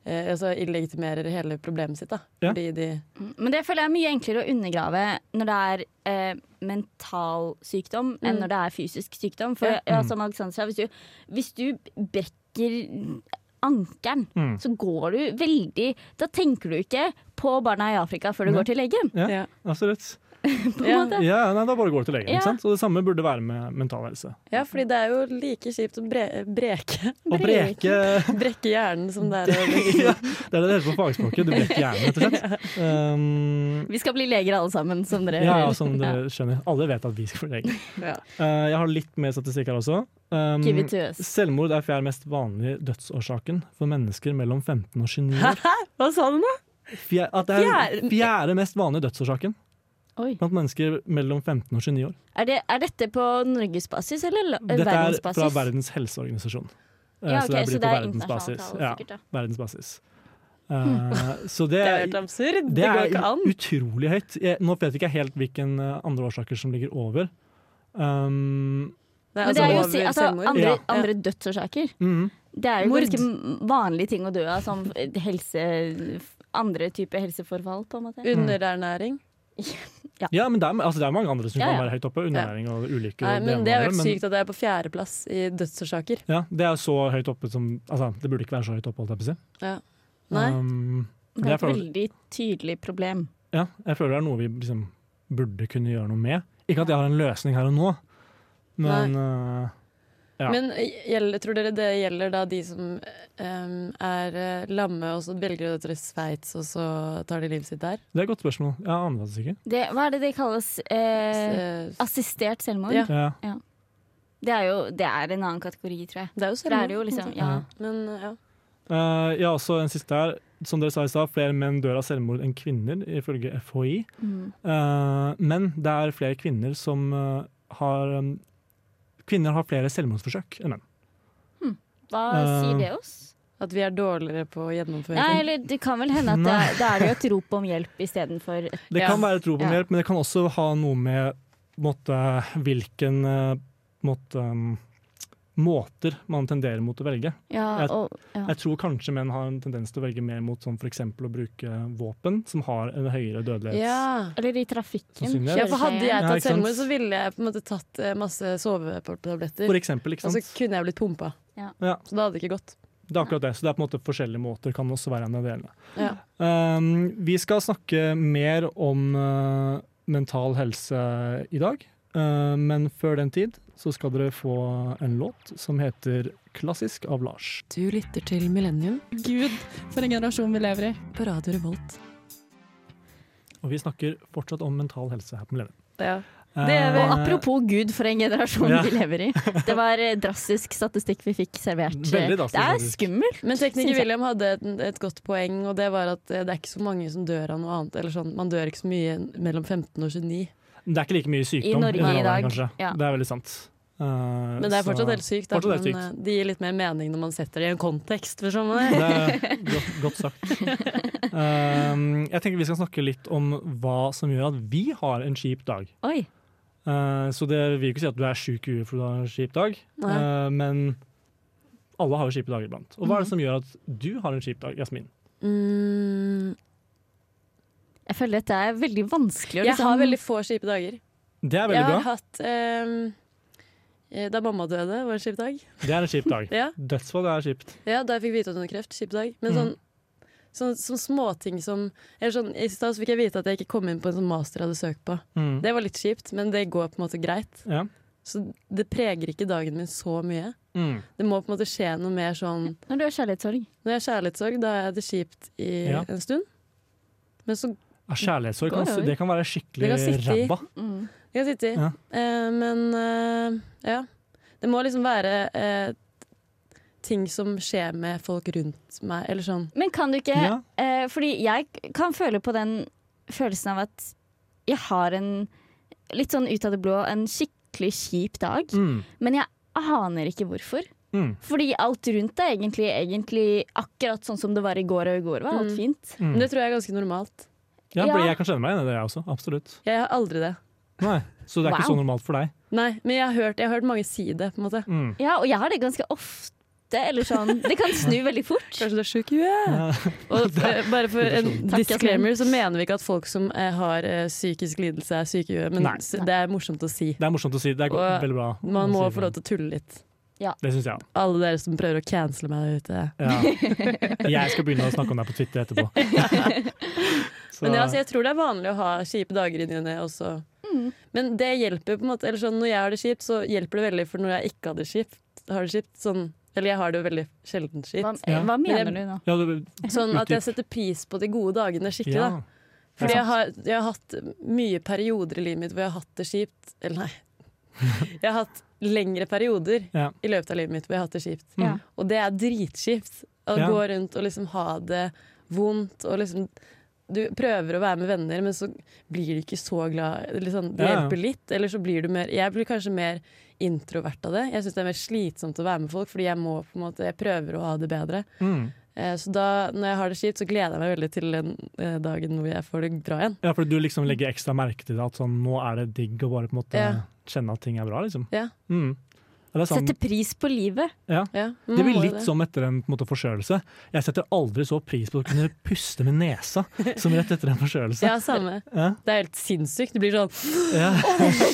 Speaker 2: eh, Altså illegitimerer hele problemet sitt, da.
Speaker 1: Ja.
Speaker 2: Fordi de
Speaker 3: Mm, Men det føler jeg er mye enklere å undergrave når det er eh, mental sykdom enn
Speaker 2: Mm.
Speaker 3: når det er fysisk sykdom. For
Speaker 2: Ja.
Speaker 3: ja,
Speaker 1: Mm.
Speaker 3: som Alexander sa, hvis du, hvis du brekker ankelen,
Speaker 1: Mm.
Speaker 3: så går du veldig Da tenker du ikke på barna i Afrika før du
Speaker 1: Nei.
Speaker 3: går til legen,
Speaker 1: Ja.
Speaker 2: Ja.
Speaker 1: Absolutt.
Speaker 3: på en
Speaker 2: Ja.
Speaker 3: måte.
Speaker 1: Ja, nei, da bare går du til legen.
Speaker 3: Ja.
Speaker 1: ikke sant? Og det samme burde være med mental helse.
Speaker 2: Ja, fordi det er jo like kjipt å bre breke
Speaker 1: Og breke
Speaker 2: Brekke hjernen som det er å liksom-
Speaker 1: ja, Det er det det heter på fagspråket. Du brekker hjernen, rett og slett. Um,
Speaker 3: Vi skal bli leger alle sammen, som dere
Speaker 1: ja, ja,
Speaker 3: hører.
Speaker 1: som dere skjønner. Alle vet at vi skal bli leger.
Speaker 2: ja.
Speaker 1: Uh, jeg har litt mer statistikk her også. Um,
Speaker 3: Give it to us.
Speaker 1: Selvmord er fjerde mest vanlige dødsårsaken for mennesker mellom 15 og 29 år.
Speaker 2: Hva sa du nå?
Speaker 1: Fjer- at det er
Speaker 2: Fjerde-
Speaker 1: fjerde mest vanlige dødsårsaken
Speaker 3: Oi.
Speaker 1: blant mennesker mellom 15 og 29 år.
Speaker 3: Er, det, er dette på norgesbasis eller la-
Speaker 1: Dette er
Speaker 3: verdensbasis?
Speaker 1: fra Verdens helseorganisasjon. Uh,
Speaker 3: Ja,
Speaker 1: så det
Speaker 3: ok,
Speaker 1: blir
Speaker 3: så
Speaker 1: på
Speaker 3: det er
Speaker 1: verdensbasis.
Speaker 3: internasjonalt tall,
Speaker 1: Ja,
Speaker 3: sikkert, da.
Speaker 1: verdensbasis. Uh, så det,
Speaker 2: Det er helt absurd. Det,
Speaker 1: Det
Speaker 2: går
Speaker 1: er
Speaker 2: ikke an.
Speaker 1: utrolig høyt. Jeg, nå vet jeg ikke helt hvilke andre årsaker som ligger over. Um,
Speaker 2: Nei,
Speaker 3: Men det er jo
Speaker 2: over
Speaker 3: si, altså,
Speaker 2: selvmord.
Speaker 3: andre,
Speaker 1: Ja.
Speaker 3: andre dødsårsaker.
Speaker 1: mm,
Speaker 3: Det er jo
Speaker 2: Mord.
Speaker 3: ganske vanlige ting å dø av, som helse, andre type helseforfall, på en måte.
Speaker 2: Underernæring.
Speaker 1: ja, men det er, altså, det er mange andre som
Speaker 3: Ja, ja.
Speaker 1: kan være høyt oppe. Undernæring og ulykker.
Speaker 2: Nei,
Speaker 1: og
Speaker 2: men
Speaker 1: ene
Speaker 2: det er
Speaker 1: og andre,
Speaker 2: jo helt
Speaker 1: men-
Speaker 2: sykt at det er på fjerdeplass i dødsårsaker.
Speaker 1: Ja, det er så høyt oppe som Altså, det burde ikke være så høyt oppe, holdt jeg på å si.
Speaker 2: Ja. Nei.
Speaker 1: Um,
Speaker 3: Det er
Speaker 1: jeg
Speaker 3: et
Speaker 1: føler-
Speaker 3: veldig tydelig problem.
Speaker 1: ja, jeg føler det er noe vi liksom burde kunne gjøre noe med. Ikke at jeg har en løsning her og nå, men uh, Ja.
Speaker 2: Men eh, gjelder, tror dere det gjelder da de som ehm, er eh, lamme, og så velger de å dra til Sveits, og så tar de livet sitt der?
Speaker 1: det er et godt spørsmål. Jeg aner faktisk ikke.
Speaker 3: Det, hva er det det kalles? Eh,
Speaker 2: Så-
Speaker 3: assistert selvmord?
Speaker 2: Ja.
Speaker 1: Ja.
Speaker 3: Det er jo det er en annen kategori, tror jeg.
Speaker 2: det er jo
Speaker 3: For det er
Speaker 2: selvmord.
Speaker 3: det jo liksom,
Speaker 2: på en måte.
Speaker 3: ja.
Speaker 2: Men ja.
Speaker 1: Uh, ja, også en siste her. Som dere sa i stad, flere menn dør av selvmord enn kvinner, ifølge FHI.
Speaker 3: Mm.
Speaker 1: Eh, men det er flere kvinner som eh, har um, Kvinner har flere selvmordsforsøk enn menn.
Speaker 3: Hva
Speaker 1: Eh,
Speaker 3: sier det oss?
Speaker 2: At vi er dårligere på å gjennomføre
Speaker 3: Nei,
Speaker 2: ting.
Speaker 3: eller det kan vel hende at det er, da er det jo et rop om hjelp istedenfor et
Speaker 1: Det
Speaker 2: Ja.
Speaker 1: kan være et rop om
Speaker 3: Ja.
Speaker 1: hjelp, men det kan også ha noe med på en måte, hvilken eh, på en måte, um, måter man tenderer mot å velge.
Speaker 3: Ja,
Speaker 1: Jeg-
Speaker 3: og, ja.
Speaker 1: Jeg tror kanskje menn har en tendens til å velge mer mot sånn, f.eks. å bruke våpen, som har en høyere dødelighets...
Speaker 2: Ja.
Speaker 3: Eller i trafikken.
Speaker 1: Sannsynlig.
Speaker 2: ja, for hadde jeg
Speaker 1: Ja, ikke
Speaker 2: tatt
Speaker 1: sant?
Speaker 2: selvmord, så ville jeg på en måte tatt eh, masse sovetabletter.
Speaker 1: For eksempel, ikke
Speaker 2: Og så
Speaker 1: sant?
Speaker 2: kunne jeg blitt pumpa.
Speaker 3: Ja.
Speaker 1: Ja.
Speaker 2: Så det hadde ikke gått.
Speaker 1: Det er akkurat det. Så det er på en måte forskjellige måter. kan også være en av delene.
Speaker 2: Ja.
Speaker 1: Um, vi skal snakke mer om eh, mental helse i dag. Eh, men før den tid så skal dere få en låt som heter 'Klassisk' av Lars.
Speaker 2: Du lytter til Millennium. Gud, for en generasjon vi lever i. På Radio Revolt.
Speaker 1: Og vi snakker fortsatt om mental helse her på Millennium.
Speaker 2: Ja.
Speaker 3: Det er
Speaker 1: Eh,
Speaker 3: vel, og apropos Gud for en generasjon
Speaker 1: Ja.
Speaker 3: vi lever i. Det var eh, drastisk statistikk vi fikk servert.
Speaker 1: Veldig drastisk
Speaker 3: det er
Speaker 1: statistikk.
Speaker 3: skummelt.
Speaker 2: Men tekniker
Speaker 3: Synes jeg.
Speaker 2: William hadde et, et godt poeng, og det var at eh, det er ikke så mange som dør av noe annet. Eller sånn, man dør ikke så mye mellom 15 og 29.
Speaker 1: Det er ikke like mye sykdom
Speaker 3: I Norge
Speaker 1: denne
Speaker 3: i dag,
Speaker 1: alderen, kanskje.
Speaker 3: ja.
Speaker 1: Det er veldig sant. Eh,
Speaker 2: Men det er
Speaker 1: så-
Speaker 2: fortsatt helt sykt. Da,
Speaker 1: fortsatt helt
Speaker 2: men eh, det gir litt mer mening når man setter det i en kontekst. For sånn, eh.
Speaker 1: Det er godt, godt sagt. Um, jeg tenker Vi skal snakke litt om hva som gjør at vi har en kjip dag.
Speaker 3: Oi.
Speaker 1: Eh, så det vil jo ikke si at du er sjuk i huet fordi du har en kjip dag,
Speaker 2: Nei.
Speaker 1: Eh, men alle har jo kjipe dager iblant. Og hva
Speaker 2: Mhm.
Speaker 1: er det som gjør at du har en kjip dag, Jasmin?
Speaker 2: Mm,
Speaker 3: Jeg føler dette er veldig vanskelig å
Speaker 2: jeg
Speaker 3: liksom
Speaker 2: har veldig få kjipe dager.
Speaker 1: Det er
Speaker 2: Jeg
Speaker 1: veldig
Speaker 2: har
Speaker 1: bra.
Speaker 2: hatt ehm, eh, Da mamma døde, var en kjip dag.
Speaker 1: Det er en kjip dag.
Speaker 2: Ja,
Speaker 1: Dødsfall er kjipt.
Speaker 2: ja Da jeg fikk vite at hun hadde kreft. Kjip dag. Men sånn, Sånn, sånn småting som eller sånn, I stad så fikk jeg vite at jeg ikke kom inn på en sånn master jeg hadde søkt på.
Speaker 1: Mm.
Speaker 2: Det var litt kjipt, men det går på en måte greit.
Speaker 1: Ja.
Speaker 2: Så det preger ikke dagen min så mye.
Speaker 1: Mm.
Speaker 2: Det må på en måte skje noe mer sånn
Speaker 3: Når du har kjærlighetssorg.
Speaker 2: Når jeg har kjærlighetssorg, da er det kjipt i
Speaker 1: Ja.
Speaker 2: en stund. Men så
Speaker 1: Ja, Ah, Kjærlighetssorg kan,
Speaker 2: Går over.
Speaker 1: det kan være
Speaker 2: Det kan
Speaker 1: skikkelig
Speaker 2: sitte i-
Speaker 1: ræva.
Speaker 3: Mm.
Speaker 2: Jeg kan sitte i.
Speaker 1: Ja.
Speaker 2: Eh, men eh, ja. Det må liksom være eh, ting som skjer med folk rundt meg, eller sånn.
Speaker 3: Men kan du ikke
Speaker 1: Ja.
Speaker 3: eh, Fordi jeg kan føle på den følelsen av at jeg har en litt sånn ut av det blå, en skikkelig kjip dag.
Speaker 1: Mm.
Speaker 3: Men jeg aner ikke hvorfor.
Speaker 1: Mm.
Speaker 3: Fordi alt rundt er egentlig, egentlig akkurat sånn som det var i går, og i går var alt
Speaker 2: Mm.
Speaker 3: fint.
Speaker 1: Mm.
Speaker 2: Men det tror jeg er ganske normalt.
Speaker 1: Ja,
Speaker 3: Ja.
Speaker 1: fordi Jeg kan kjenne meg igjen i det, jeg også. Absolutt.
Speaker 2: Jeg har aldri det.
Speaker 1: Nei. Så det er ikke
Speaker 3: Wow.
Speaker 1: så normalt for deg.
Speaker 2: Nei, men jeg har hørt, jeg har hørt mange si det, på en måte.
Speaker 1: Mm.
Speaker 3: Ja, og jeg har det ganske ofte. Eller sånn. Det kan snu veldig fort.
Speaker 2: Kanskje du er sjuk i huet?
Speaker 1: Ja.
Speaker 2: Og eh, bare for en
Speaker 3: Takk,
Speaker 2: disclaimer, så mener vi ikke at folk som eh, har eh, psykisk lidelse, er syke i huet, men
Speaker 1: Nei.
Speaker 2: s- det er morsomt å si.
Speaker 1: Det er morsomt å si. Det er go-
Speaker 2: Og
Speaker 1: veldig bra.
Speaker 2: Man må
Speaker 1: å si
Speaker 2: få lov til å tulle litt.
Speaker 1: Det syns jeg.
Speaker 2: Alle dere som prøver å cancele meg der ute.
Speaker 1: Ja. Jeg skal begynne å snakke om deg på Twitter etterpå. Så,
Speaker 2: Men ja, altså, jeg tror det er vanlig å ha kjipe dager i ny og ne også. Men det hjelper på en måte, eller sånn, når jeg har det kjipt, så hjelper det veldig for når jeg ikke har det kjipt. Har det kjipt sånn, eller jeg har det jo veldig sjelden
Speaker 3: Hva,
Speaker 2: kjipt.
Speaker 1: Ja.
Speaker 3: hva
Speaker 2: Men
Speaker 3: mener
Speaker 2: jeg-
Speaker 3: du nå?
Speaker 1: ja, du-
Speaker 2: Sånn at jeg setter pris på de gode dagene skikkelig.
Speaker 1: ja.
Speaker 2: da. Fordi jeg har, jeg har hatt mye perioder i livet mitt hvor jeg har hatt det kjipt. Eller nei. Jeg har hatt lengre perioder
Speaker 1: Ja.
Speaker 2: i løpet av livet mitt hvor jeg har hatt det kjipt.
Speaker 1: Mm.
Speaker 3: Ja.
Speaker 2: Og det er dritkjipt. Å
Speaker 1: Ja.
Speaker 2: gå rundt og liksom ha det vondt og liksom Du prøver å være med venner, men så blir du ikke så glad. Eller sånn, det
Speaker 1: Ja, ja.
Speaker 2: hjelper litt, eller så blir du mer Jeg blir kanskje mer introvert av det. Jeg syns det er mer slitsomt å være med folk, fordi jeg må på en måte Jeg prøver å ha det bedre.
Speaker 1: Mm.
Speaker 2: Eh, Så da, når jeg har det kjipt, så gleder jeg meg veldig til den eh, dagen hvor jeg får det bra igjen.
Speaker 1: ja, for du liksom legger ekstra merke til det, at sånn, nå er det digg å bare på en måte
Speaker 2: Ja.
Speaker 1: kjenne at ting er bra, liksom.
Speaker 2: Ja.
Speaker 1: Mm. Ja, det er sant.
Speaker 3: Sette pris på livet.
Speaker 1: Ja.
Speaker 2: Ja, Mm.
Speaker 1: Det blir litt sånn som etter en på en måte, forkjølelse. Jeg setter aldri så pris på å kunne puste med nesa som rett etter en forkjølelse.
Speaker 2: Ja, samme.
Speaker 1: Ja.
Speaker 2: Det er helt sinnssykt. Det blir sånn
Speaker 1: Ja.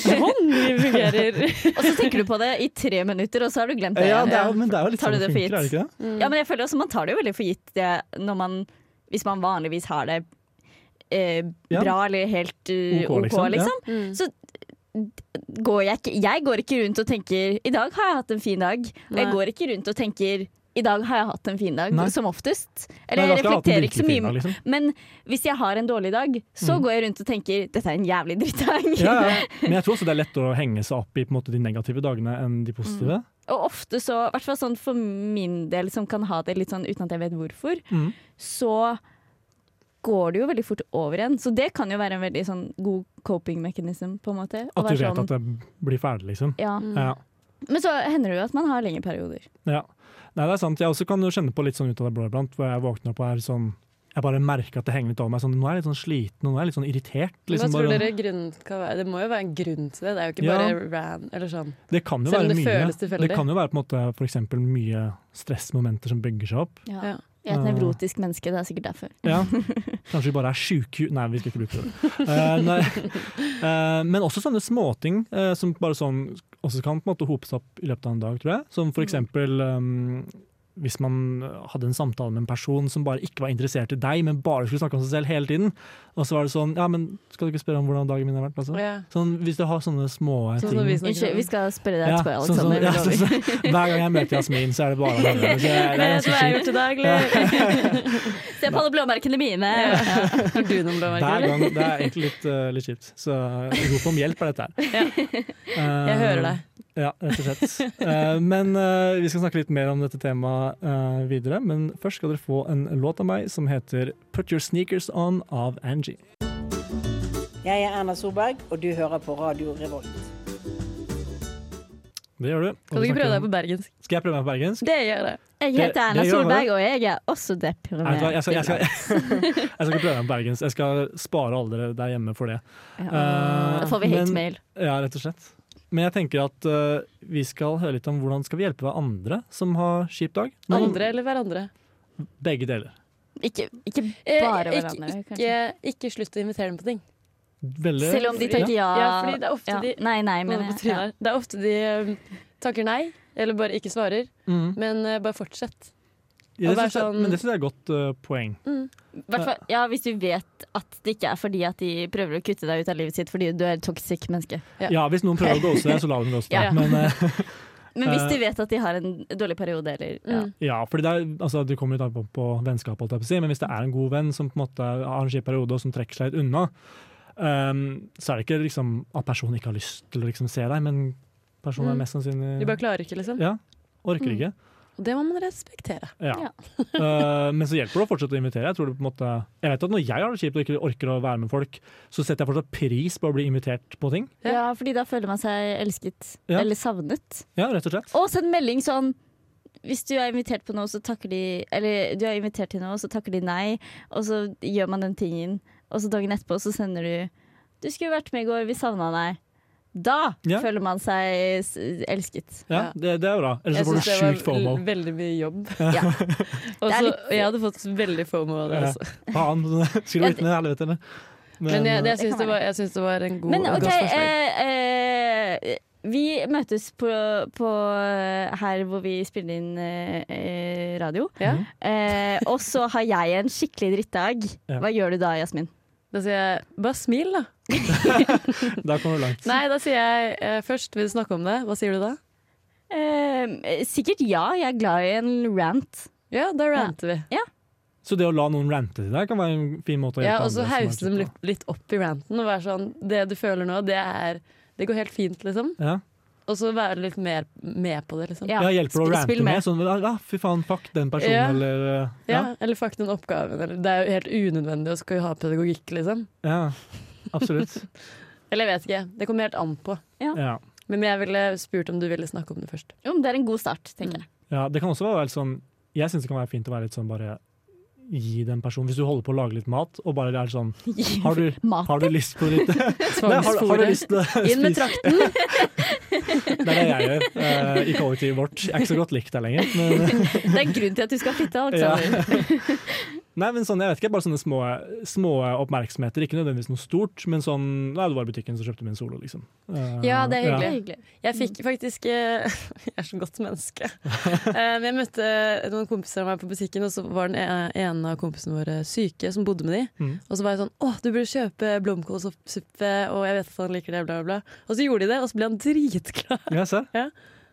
Speaker 2: Sånn vi fungerer!
Speaker 3: Og så tenker du på det i tre minutter, og så har du glemt det.
Speaker 1: Ja, det er, jo- men det er jo litt
Speaker 3: Tar
Speaker 1: sånn
Speaker 3: du
Speaker 1: det
Speaker 3: det for
Speaker 1: funker, er det
Speaker 3: gitt?
Speaker 1: ikke det?
Speaker 3: Ja, men jeg føler også man tar det jo veldig for gitt det, når man, hvis man vanligvis har det eh,
Speaker 1: Ja.
Speaker 3: bra eller helt eh,
Speaker 1: OK,
Speaker 3: OK,
Speaker 1: liksom,
Speaker 3: liksom.
Speaker 1: ja.
Speaker 3: Så går jeg ikke Jeg går ikke rundt og tenker 'i dag har jeg hatt en fin dag'. Og jeg
Speaker 2: Nei.
Speaker 3: går ikke rundt og tenker 'i dag har jeg hatt en fin dag',
Speaker 1: Nei.
Speaker 3: som oftest.
Speaker 1: Nei,
Speaker 3: Eller
Speaker 1: da skal
Speaker 3: jeg
Speaker 1: jeg ha den
Speaker 3: reflekterer ikke så
Speaker 1: virkelig
Speaker 3: mye.
Speaker 1: fine, liksom.
Speaker 3: Men hvis jeg har en dårlig dag, så går jeg rundt og tenker 'dette er en jævlig drittdag'.
Speaker 1: Mm. Ja, ja. Men jeg tror også det er lettere å henge seg opp i på en måte, de negative dagene enn de positive.
Speaker 3: Og ofte så, i hvert fall sånn for min del som kan ha det litt sånn uten at jeg vet hvorfor,
Speaker 1: Mm.
Speaker 3: så går det jo veldig fort over igjen. Så det kan jo være en veldig sånn god coping mechanism, på en måte. Å
Speaker 1: At du vet
Speaker 3: være sånn, Mm.
Speaker 1: at det blir ferdig, liksom.
Speaker 3: ja.
Speaker 2: Mm.
Speaker 1: Ja.
Speaker 3: Men så hender det jo at man har lengre perioder.
Speaker 1: Ja. Nei, det er sant. Jeg også kan jo kjenne på litt sånn ut av det blå iblant, hvor jeg våkner opp og er sånn Jeg bare merker at det henger litt over meg. Sånn, nå er jeg litt sånn sliten, og nå er jeg litt sånn irritert. Liksom,
Speaker 2: Hva tror
Speaker 1: bare-
Speaker 2: dere grunnen kan være? Det må jo være en grunn til det. Det er jo ikke
Speaker 1: Ja.
Speaker 2: bare ran eller sånn.
Speaker 1: det kan jo
Speaker 2: selv
Speaker 1: være
Speaker 2: om det føles
Speaker 1: mye.
Speaker 2: tilfeldig?
Speaker 1: Det kan jo være på en måte for eksempel mye stressmomenter som bygger seg opp.
Speaker 2: Ja.
Speaker 3: Jeg er et
Speaker 1: Ja. Mm.
Speaker 3: nevrotisk menneske, det er sikkert derfor.
Speaker 1: Ja. Kanskje vi bare er sjuke Nei, vi skal ikke bruke det. Eh, nei. Eh, men også sånne småting eh, som bare sånn også kan på en måte hope seg opp i løpet av en dag, tror jeg. Som for eksempel um, hvis man hadde en samtale med en person som bare ikke var interessert i deg, men bare skulle snakke om seg selv hele tiden. Og så var det sånn Ja, men skal du ikke spørre om hvordan dagen min har vært? Altså?
Speaker 2: Ja.
Speaker 1: Sånn, hvis du har sånne små
Speaker 2: Sånn
Speaker 1: ting
Speaker 2: som vi
Speaker 3: Unnskyld,
Speaker 2: snakker
Speaker 3: vi
Speaker 2: om.
Speaker 3: skal spørre deg
Speaker 1: Ja,
Speaker 3: etterpå,
Speaker 1: sånn som-
Speaker 3: Alexander.
Speaker 1: ja,
Speaker 3: lover.
Speaker 1: sånn som- Hver gang jeg møter Jasmin, så er det bare han. andre. Så jeg- Det er
Speaker 2: Vet du
Speaker 1: ganske
Speaker 2: hva jeg har
Speaker 1: sjukt.
Speaker 2: gjort i dag, eller?
Speaker 1: sånn,
Speaker 3: Se på alle blåmerkene mine!
Speaker 2: Har du
Speaker 1: Hver
Speaker 2: noen blåmerker?
Speaker 1: gang, det er egentlig litt, eh, litt kjipt. Så rop om hjelp er dette her. Eh,
Speaker 2: Jeg hører deg.
Speaker 1: Ja, rett og slett. Eh, men eh, vi skal snakke litt mer om dette temaet eh, videre. Men først skal dere få en låt av meg som heter 'Put Your Sneakers On' av Angie.
Speaker 7: Jeg er Erna Solberg, og du hører på Radio Revolt.
Speaker 1: Det gjør du. Og
Speaker 2: Kan du
Speaker 1: vi
Speaker 2: ikke
Speaker 1: snakker
Speaker 2: prøve
Speaker 1: om-
Speaker 2: deg på bergensk?
Speaker 1: Skal jeg prøve meg på bergensk?
Speaker 2: Det gjør jeg.
Speaker 3: Jeg
Speaker 1: Det-
Speaker 3: heter Erna
Speaker 1: det gjør
Speaker 3: Solberg, og jeg er også
Speaker 1: Nei, vet du hva,
Speaker 3: deprimert.
Speaker 1: jeg, skal, jeg, skal, jeg skal ikke prøve meg på bergensk. Jeg skal spare alle dere der hjemme for det.
Speaker 3: Ja. Da får vi
Speaker 1: Eh, men-
Speaker 3: hate mail.
Speaker 1: Ja, rett og slett. Men jeg tenker at eh, vi skal høre litt om hvordan skal vi hjelpe hverandre som har kjip dag. Noen-
Speaker 2: Andre eller hverandre?
Speaker 1: Begge deler.
Speaker 3: Ikke, ikke
Speaker 2: Eh,
Speaker 3: bare
Speaker 2: ikke-
Speaker 3: hverandre, kanskje.
Speaker 2: Ikke, ikke slutt å invitere dem på ting.
Speaker 1: Veldig
Speaker 3: Selv om de
Speaker 2: Fordi-
Speaker 3: takker ja.
Speaker 2: Ja, fordi det er ofte de-
Speaker 3: Nei, nei, men
Speaker 2: Holder på
Speaker 3: jeg,
Speaker 2: trynet
Speaker 3: ja.
Speaker 2: her. Det er um, ofte de eh, takker nei, eller bare ikke svarer.
Speaker 1: Mm.
Speaker 2: Men eh, bare fortsett.
Speaker 1: Ja,
Speaker 2: Og
Speaker 1: det
Speaker 2: være
Speaker 1: synes jeg,
Speaker 2: sånn-
Speaker 1: men det syns jeg er et godt eh, poeng.
Speaker 3: Hvertfall- ja, hvis du vet at det ikke er fordi at de prøver å kutte deg ut av livet sitt fordi du er et toxic menneske.
Speaker 2: Ja.
Speaker 1: Ja, hvis noen prøver å ghoste deg, så lar dem ghoste
Speaker 3: Ja,
Speaker 1: deg.
Speaker 3: ja.
Speaker 1: Men eh,
Speaker 3: Men hvis
Speaker 1: Eh.
Speaker 3: de vet at de har en dårlig periode eller ja.
Speaker 2: Mm.
Speaker 1: Ja, fordi det, er, altså, det kommer litt an på, på vennskap, holdt jeg på å si, men hvis det er en god venn som på en måte har en kjip periode og som trekker seg litt unna, ehm, så er det ikke liksom, at personen ikke har lyst til å liksom, se deg, men personen
Speaker 2: Mm.
Speaker 1: er mest sannsynlig
Speaker 2: Du bare Mm. klarer ikke, liksom.
Speaker 1: Ja, orker ikke.
Speaker 2: Og det må man respektere.
Speaker 1: Ja. Eh, men så hjelper det å fortsette å invitere. Jeg, tror det på en måte, jeg vet at Når jeg har det kjipt og ikke orker å være med folk, så setter jeg fortsatt pris på å bli invitert på ting.
Speaker 2: Ja.
Speaker 3: ja, fordi da føler man seg elsket
Speaker 1: Ja.
Speaker 3: eller savnet.
Speaker 1: Ja, rett og slett.
Speaker 3: Og send melding sånn hvis du er invitert på noe, så takker de Eller du er invitert til noe, så takker de nei, og så gjør man den tingen, og så dagen etterpå så sender du 'Du skulle vært med i går, vi savna deg'. Da
Speaker 1: Ja.
Speaker 3: føler man seg s- elsket.
Speaker 1: Ja,
Speaker 2: Ja.
Speaker 1: det, det er bra. Ellers
Speaker 2: Jeg
Speaker 1: så får
Speaker 2: syns
Speaker 1: du
Speaker 2: det
Speaker 1: sjukt
Speaker 2: var
Speaker 1: fomo.
Speaker 2: l- veldig mye jobb.
Speaker 3: Ja.
Speaker 2: Og
Speaker 3: Det er
Speaker 2: så-
Speaker 3: litt-
Speaker 2: jeg hadde fått veldig fomo av det.
Speaker 1: Ja.
Speaker 2: Altså.
Speaker 1: Faen, skulle
Speaker 3: Ja,
Speaker 1: vært med i helvete. eller?
Speaker 2: Men jeg, det,
Speaker 1: eh,
Speaker 2: jeg syns det, var- jeg syns det var en god
Speaker 3: Men
Speaker 2: et
Speaker 3: OK,
Speaker 2: godt forslag.
Speaker 3: eh, eh, vi møtes på, på eh, her hvor vi spiller inn eh, eh, radio.
Speaker 2: Ja?
Speaker 3: Eh, og så har jeg en skikkelig drittdag.
Speaker 1: Ja.
Speaker 3: Hva gjør du da, Jasmin?
Speaker 2: Da sier jeg bare smil, da.
Speaker 1: Da kommer du langt.
Speaker 2: Nei, da sier jeg eh, først vil du snakke om det. Hva sier du da?
Speaker 3: Eh, sikkert ja, jeg er glad i en rant.
Speaker 2: Ja, da ranter vi.
Speaker 1: Så det å la noen rante til deg kan være en fin måte å
Speaker 2: Ja,
Speaker 1: hjelpe
Speaker 2: og så
Speaker 1: andre som er
Speaker 2: hause dem
Speaker 1: kjipe.
Speaker 2: litt, litt opp i ranten og være sånn Det du føler nå, det er Det går helt fint, liksom.
Speaker 1: Ja.
Speaker 2: Og så være litt mer med på det, liksom.
Speaker 1: Ja, hjelper å
Speaker 3: sp-
Speaker 1: rante
Speaker 3: spill
Speaker 1: med. Sånn, ja, fy faen, fuck den personen,
Speaker 2: Ja.
Speaker 1: eller eh, ja.
Speaker 2: Ja, eller fuck den oppgaven. Eller, det er jo helt unødvendig å skal ha pedagogikk, liksom.
Speaker 1: ja. Absolutt.
Speaker 2: Eller jeg vet ikke. Det kommer helt an på.
Speaker 1: Ja.
Speaker 2: Men jeg ville spurt om du ville snakke om det først.
Speaker 3: Jo, men det er en god start, tenker jeg.
Speaker 1: ja. Det kan også være litt sånn Jeg syns det kan være fint å være litt sånn bare gi den personen Hvis du holder på å lage litt mat, og bare er sånn Har du,
Speaker 3: Mat.
Speaker 1: har du lyst på litt Nei, har, har du
Speaker 2: Tvangsfôre.
Speaker 1: lyst til å
Speaker 2: Inn
Speaker 1: spise
Speaker 2: med trakten!
Speaker 1: Det er det jeg gjør eh, i kollektivet vårt. Jeg er ikke så godt likt der lenger. Men,
Speaker 3: Det er en grunn til at du skal flytte,
Speaker 1: Ja.
Speaker 3: Alexander.
Speaker 1: Nei, men sånn, jeg vet ikke, bare sånne små, små oppmerksomheter. Ikke nødvendigvis noe stort, men sånn Nei, det var i butikken, så kjøpte vi en solo, liksom. Eh,
Speaker 2: Ja, det er
Speaker 3: Det
Speaker 2: hyggelig.
Speaker 3: er hyggelig.
Speaker 2: Jeg fikk
Speaker 1: Mm.
Speaker 2: faktisk eh, Jeg er så godt menneske. Eh, Men jeg møtte noen kompiser av meg på butikken, og så var den e- ene av kompisene våre syke, som bodde med de.
Speaker 1: Mm.
Speaker 2: Og så var jeg sånn Å, du burde kjøpe blomkålsuppe, og jeg vet at han liker det, bla, bla, bla. Og så gjorde de det, og så ble han dritglad.
Speaker 1: Ja, se.
Speaker 2: Ja.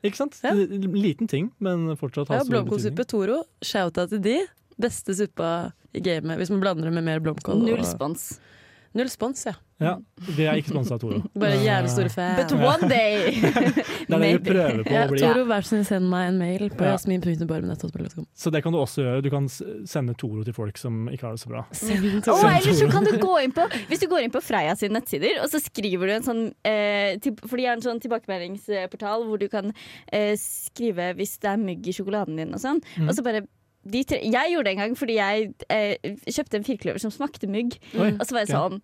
Speaker 1: Ikke sant?
Speaker 2: Ja.
Speaker 1: L- Liten ting, men fortsatt har
Speaker 2: Ja,
Speaker 1: stor betydning.
Speaker 2: blomkålsuppe Toro, shouta til de. Beste suppa i gamet, hvis man blander det med mer blomkål.
Speaker 3: Null
Speaker 2: og-
Speaker 3: spons.
Speaker 2: Null spons, ja.
Speaker 1: Ja, vi er ikke sponsa av Toro.
Speaker 2: Bare
Speaker 1: Eh,
Speaker 2: jævlig store
Speaker 3: But
Speaker 2: fan.
Speaker 3: one day!
Speaker 1: Det er det vi
Speaker 3: Maybe.
Speaker 1: prøver på
Speaker 2: Ja,
Speaker 1: å bli.
Speaker 2: Toro, vær så snill, send meg en mail på
Speaker 1: Ja.
Speaker 2: jasmin.barmen.com.
Speaker 1: Så det kan du også gjøre. Du kan s- sende Toro til folk som ikke har det så bra.
Speaker 2: Send
Speaker 3: Og
Speaker 2: Toro.
Speaker 3: ellers så kan du gå inn på Hvis du går inn på Freia sine nettsider, og så skriver du en sånn eh, til, For de har en sånn tilbakemeldingsportal hvor du kan eh, skrive hvis det er mugg i sjokoladen din og sånn.
Speaker 1: Mm.
Speaker 3: Og så bare de tre, Jeg gjorde det en gang fordi jeg eh, kjøpte en firkløver som smakte mugg.
Speaker 1: Oi.
Speaker 3: Og så var jeg
Speaker 1: Ja.
Speaker 3: sånn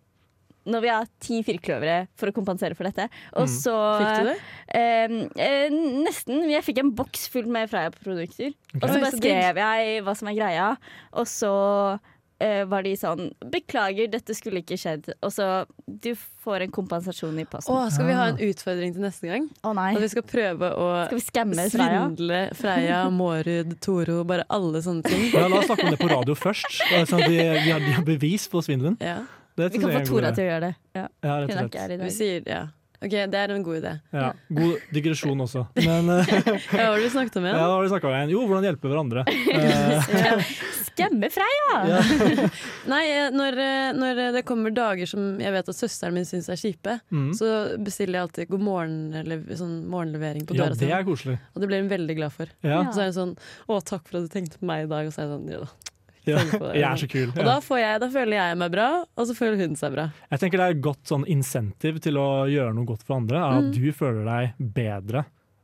Speaker 3: Nå vil jeg ha ti firkløvere for å kompensere for dette.
Speaker 1: Mm.
Speaker 3: Og så
Speaker 2: Fikk du det?
Speaker 3: Eh, eh, nesten. Jeg fikk en boks full med Freia-produkter. Og så
Speaker 2: Oi,
Speaker 3: bare
Speaker 2: så digg.
Speaker 3: skrev jeg hva som er greia, og så eh, var de sånn Beklager, dette skulle ikke skjedd. Og så Du får en kompensasjon i posten.
Speaker 2: Å, skal vi ha en utfordring til neste gang? At
Speaker 3: Å Ah. nei.
Speaker 2: vi skal prøve å
Speaker 3: Skal vi skamme Freia?
Speaker 2: svindle Freia, Mårud, Toro, bare alle sånne ting.
Speaker 1: Ja, la oss snakke om det på radio først. Det er Sånn at vi, vi, har, vi har bevis på svindelen.
Speaker 2: Ja,
Speaker 1: Det
Speaker 3: Vi
Speaker 1: synes
Speaker 3: kan
Speaker 1: jeg er en
Speaker 3: få
Speaker 1: god
Speaker 3: Tora
Speaker 1: idé.
Speaker 3: til å gjøre det. Ja.
Speaker 1: Ja,
Speaker 3: Hun
Speaker 1: rett
Speaker 3: er
Speaker 1: og slett.
Speaker 3: ikke her i
Speaker 2: vi
Speaker 3: dag.
Speaker 2: sier ja. Ok, det er en god idé.
Speaker 1: Ja, god digresjon også. Men eh,
Speaker 2: Ja, hva var det vi snakket om
Speaker 1: ja, hva
Speaker 2: igjen?
Speaker 1: har du snakket om igjen? Jo, hvordan hjelpe hverandre. Eh,
Speaker 3: Skamme Freia!
Speaker 1: ja.
Speaker 2: Nei, eh, når, eh, når det kommer dager som jeg vet at søsteren min syns er kjipe,
Speaker 1: Mm.
Speaker 2: så bestiller jeg alltid god morgen, eller sånn morgenlevering på
Speaker 1: ja,
Speaker 2: døra
Speaker 1: det
Speaker 2: si.
Speaker 1: er koselig.
Speaker 2: Og det blir hun veldig glad for.
Speaker 1: Ja.
Speaker 2: Så er hun sånn 'Å, takk for at du tenkte på meg i dag.' Og så er jeg sånn, ja da.
Speaker 1: Ja.
Speaker 2: tenk på det.
Speaker 1: Jeg er så kul.
Speaker 2: Og
Speaker 1: Ja.
Speaker 2: da, får jeg, da føler jeg meg bra, og så føler hun seg bra.
Speaker 1: Jeg tenker det er et godt sånn insentiv til å gjøre noe godt for andre, er at du føler deg bedre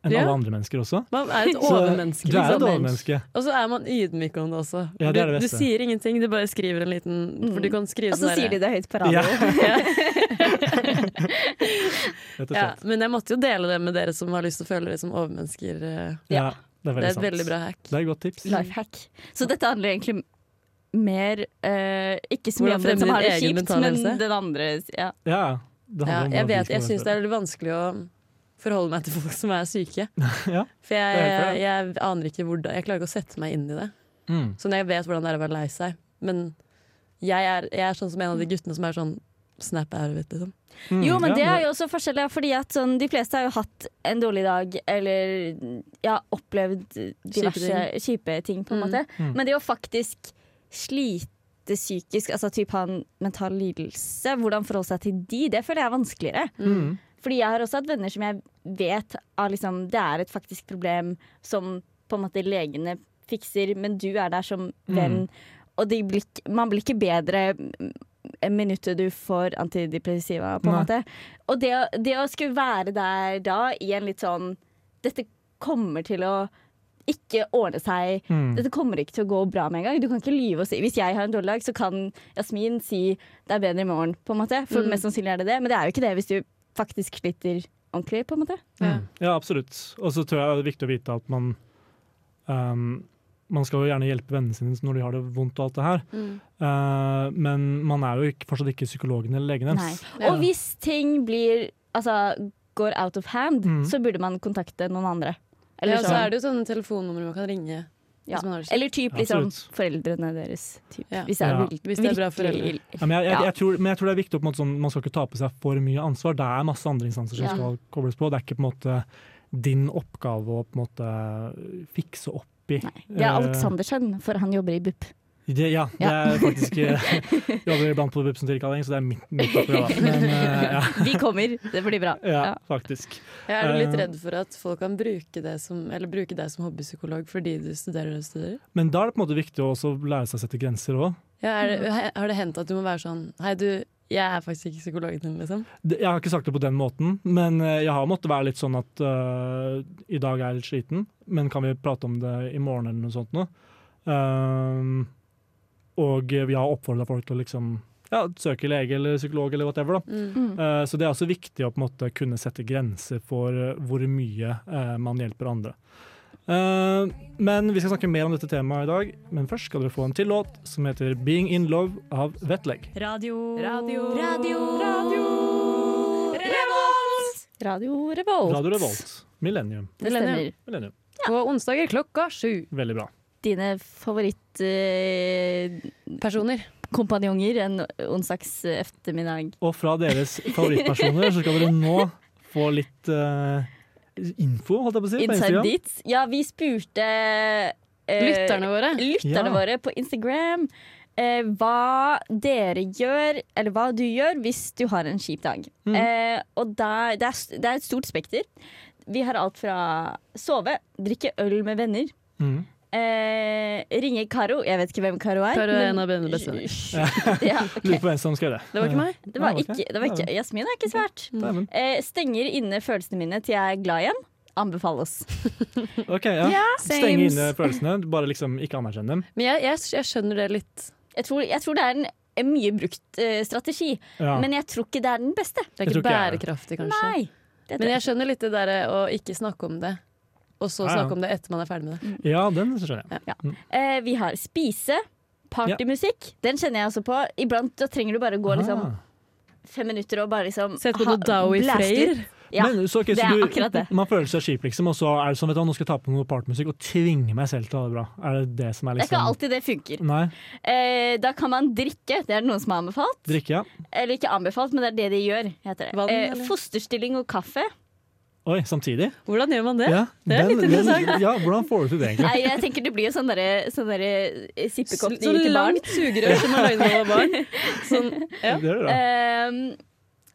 Speaker 1: enn
Speaker 2: Mm. Ja.
Speaker 1: alle andre mennesker også.
Speaker 2: Man er et
Speaker 1: Så
Speaker 2: overmenneske.
Speaker 1: Du er et
Speaker 2: liksom.
Speaker 1: overmenneske.
Speaker 2: Og så er man ydmyk om det også.
Speaker 1: Ja, det er det
Speaker 2: du, du
Speaker 1: beste.
Speaker 2: sier ingenting, du bare skriver en liten For du kan skrive
Speaker 3: Og så
Speaker 2: sånn
Speaker 3: sier de
Speaker 2: derre-
Speaker 3: det høyt på radio.
Speaker 1: Rett og
Speaker 2: ja,
Speaker 1: slett.
Speaker 2: Men jeg måtte jo dele det med dere som har lyst til å føle dere som overmennesker. eh.
Speaker 1: Ja. det er veldig
Speaker 2: Det er et
Speaker 1: sant.
Speaker 2: veldig bra hack.
Speaker 1: Det er et godt tips.
Speaker 3: Life hack. Så dette handler egentlig mer eh, Ikke så mye
Speaker 2: Hvordan
Speaker 3: om den som
Speaker 2: fremme
Speaker 3: har det
Speaker 2: din egen
Speaker 3: kjipt,
Speaker 2: mentale
Speaker 3: men
Speaker 2: helse?
Speaker 3: den andre. Ja.
Speaker 1: Ja, det handler om
Speaker 2: Ja, jeg
Speaker 1: hvordan du
Speaker 2: vet,
Speaker 1: skal
Speaker 2: jeg syns det
Speaker 1: være
Speaker 2: er veldig vanskelig å forholde meg til folk som er syke.
Speaker 1: Ja.
Speaker 2: For
Speaker 1: Det er helt
Speaker 2: jeg,
Speaker 1: klart.
Speaker 2: jeg aner ikke hvordan Jeg klarer ikke å sette meg inn i det.
Speaker 1: bedre. Mm.
Speaker 2: Sånn jeg vet hvordan det er å være lei seg. Men jeg er, jeg er sånn som en av de guttene som er sånn Snap er litt, liksom.
Speaker 1: Mm,
Speaker 3: Jo,
Speaker 1: ja,
Speaker 3: men det er jo også forskjellig, fordi at sånn, de fleste har jo hatt en dårlig dag, eller ja, opplevd diverse
Speaker 2: Kjipe
Speaker 3: kjipe ting, på en
Speaker 2: Mm.
Speaker 3: måte.
Speaker 1: Mm.
Speaker 3: Men det å faktisk slite psykisk, altså typ ha en mental lidelse, hvordan forholde seg til de, det føler jeg er vanskeligere.
Speaker 1: Mm.
Speaker 3: Fordi jeg har også hatt venner som jeg vet er liksom, det er et faktisk problem som på en måte legene fikser, men du er der som
Speaker 1: Mm.
Speaker 3: venn. Og de blir, ikke- man blir ikke bedre mm, minuttet du får antidepressiva, på en
Speaker 1: Nei.
Speaker 3: måte. Og det, å- det å skulle være der da, i en litt sånn Dette kommer til å ikke ordne seg.
Speaker 1: Mm.
Speaker 3: Dette kommer ikke til å gå bra med en gang. Du kan ikke lyve og si Hvis jeg har en dårlig dag, så kan Jasmin si det er bedre i morgen, på en måte. For mest sannsynlig er det det, men det er jo ikke det hvis du faktisk sliter ordentlig, på en måte.
Speaker 1: Mm. Ja, absolutt. Og så tror jeg det er viktig å vite at man ehm, Man skal jo gjerne hjelpe vennene sine når de har det vondt og alt det her,
Speaker 3: Mm.
Speaker 1: Eh, men man er jo ikke, fortsatt ikke psykologen eller legen
Speaker 3: Nei.
Speaker 1: deres.
Speaker 2: Ja.
Speaker 3: Og hvis ting blir Altså går out of hand,
Speaker 1: Mm.
Speaker 3: så burde man kontakte noen andre. Eller
Speaker 2: Ja, så
Speaker 3: sånn.
Speaker 2: er det jo sånne telefonnumre man kan ringe.
Speaker 3: Ja.
Speaker 2: hvis man har det
Speaker 3: Eller typ liksom,
Speaker 1: Absolutt.
Speaker 3: foreldrene deres. Typ.
Speaker 2: Ja.
Speaker 3: Hvis det er,
Speaker 1: Ja.
Speaker 3: virkelig-
Speaker 2: Hvis det er bra
Speaker 3: virkelig
Speaker 2: foreldre.
Speaker 3: ille.
Speaker 1: Ja, men, jeg, jeg,
Speaker 3: Ja.
Speaker 1: jeg tror, men jeg tror det er viktig å på en måte sånn, man skal ikke ta på seg for mye ansvar. Det er masse andre instanser som
Speaker 3: Ja.
Speaker 1: skal kobles på. Det er ikke på en måte din oppgave å på en måte fikse opp i.
Speaker 3: Det er Aleksandersen, for han jobber i BUP.
Speaker 1: Eh, det, ja, det
Speaker 3: Ja.
Speaker 1: er faktisk Jeg jobber iblant på BUP som tilkalling, så det er mitt, mitt oppgave. da. Men eh, ja,
Speaker 3: Vi kommer, det blir bra.
Speaker 1: ja,
Speaker 3: Ja.
Speaker 1: faktisk.
Speaker 2: Jeg er jo litt
Speaker 1: Eh.
Speaker 2: redd for at folk kan bruke deg som, eller bruke deg som hobbypsykolog fordi du studerer og studerer.
Speaker 1: Men da er det på en måte viktig å også lære seg å sette grenser òg.
Speaker 2: Ja, er det, he- har det hendt at du må være sånn Hei, du, jeg er faktisk ikke psykologen din, liksom.
Speaker 1: Jeg har ikke sagt det på den måten, men eh, jeg har måttet være litt sånn at eh, i dag er jeg litt sliten, men kan vi prate om det i morgen eller noe sånt nå? Ehm, og vi har oppfordra folk til å liksom ja, søke lege eller psykolog eller whatever. da. Eh, så det er også viktig å på en måte kunne sette grenser for eh, hvor mye eh, man hjelper andre. Eh, men vi skal snakke mer om dette temaet i dag, men først skal dere få en til låt som heter 'Being In Love' av Vettleg.
Speaker 2: Radio.
Speaker 3: Radio Revolt.
Speaker 1: Radio Revolt, Millennium.
Speaker 3: Det stemmer.
Speaker 1: Millennium.
Speaker 2: På onsdager klokka sju.
Speaker 1: Veldig bra.
Speaker 3: Dine favorittkompanjonger
Speaker 2: Personer.
Speaker 3: en onsdags ettermiddag.
Speaker 1: Og fra deres favorittpersoner så skal dere nå få litt eh, info, holdt jeg på å si. på
Speaker 3: Inside
Speaker 1: Instagram.
Speaker 3: Deets. Ja, vi spurte eh,
Speaker 2: Lytterne våre.
Speaker 3: lytterne
Speaker 1: Ja.
Speaker 3: våre på Instagram eh, hva dere gjør, eller hva du gjør, hvis du har en kjip dag.
Speaker 1: Mm.
Speaker 3: Eh, og der, det, er, s- det er et stort spekter. Vi har alt fra sove, drikke øl med venner,
Speaker 1: Mm.
Speaker 3: eh, ringe Karo. Jeg vet ikke hvem Karo er.
Speaker 2: Karo er
Speaker 3: men-
Speaker 2: en av mine beste venner.
Speaker 3: Ja, ok.
Speaker 1: Lurer på hvem som skrev det.
Speaker 2: Det var ikke meg.
Speaker 3: Det var
Speaker 1: Nei, det var
Speaker 3: ikke,
Speaker 1: ikke.
Speaker 3: det var ikke
Speaker 1: Nei,
Speaker 3: Jasmin er ikke svært.
Speaker 1: Dæven.
Speaker 3: Eh, stenger inne følelsene mine til jeg er glad igjen. Anbefales.
Speaker 1: Ok, ja. Stenge
Speaker 2: sames.
Speaker 1: inne følelsene, bare liksom ikke anerkjenne dem.
Speaker 2: Men jeg, jeg, jeg skjønner det litt.
Speaker 3: Jeg tror, jeg tror det er en, en mye brukt eh, strategi,
Speaker 1: Ja.
Speaker 3: men jeg tror ikke det er den beste.
Speaker 2: Det
Speaker 1: Jeg
Speaker 2: er ikke
Speaker 1: tror ikke
Speaker 2: bærekraftig, kanskje.
Speaker 3: Nei. Det tror
Speaker 2: Men jeg
Speaker 3: jeg.
Speaker 2: skjønner litt det derre å ikke snakke om det, og så
Speaker 1: Ja, ja.
Speaker 2: snakke om det etter man er ferdig med
Speaker 3: Mm.
Speaker 2: det.
Speaker 1: ja, den skjønner jeg.
Speaker 3: Eh, vi har spise, partymusikk. Den kjenner jeg også på. Iblant da trenger du bare gå liksom,
Speaker 1: Ah.
Speaker 3: fem minutter og bare liksom
Speaker 2: Sett på
Speaker 3: ha-
Speaker 2: noe Dowie
Speaker 3: blast
Speaker 2: Freyr.
Speaker 3: ut. Ja.
Speaker 1: Men, så, ok,
Speaker 3: det
Speaker 1: så
Speaker 3: er
Speaker 1: du,
Speaker 3: akkurat det.
Speaker 1: Man føler seg kjip, liksom, og så er det sånn vet du, hva, nå skal jeg ta på noe partmusikk og tvinge meg selv til å ha det bra. Er det det som er
Speaker 3: Det er
Speaker 1: liksom
Speaker 3: ikke alltid det funker.
Speaker 1: Nei.
Speaker 3: Eh, da kan man drikke. Det er det noen som har anbefalt.
Speaker 1: Drikke, ja.
Speaker 3: Eller ikke anbefalt, men det er det de gjør. Heter det.
Speaker 2: Vann,
Speaker 3: eh,
Speaker 2: eller?
Speaker 3: fosterstilling og kaffe.
Speaker 1: Oi, samtidig?
Speaker 2: Hvordan gjør man det?
Speaker 1: Ja,
Speaker 2: det er litt interessant.
Speaker 1: ja, hvordan får du til det, egentlig?
Speaker 3: Nei, jeg tenker det blir jo sånn derre sånn der, eh, sippekopp
Speaker 2: Så
Speaker 3: de gir til barn.
Speaker 2: langt sugerør som man lagde da man var barn. Sånn, ja.
Speaker 1: Det er det, da.
Speaker 3: Ehm,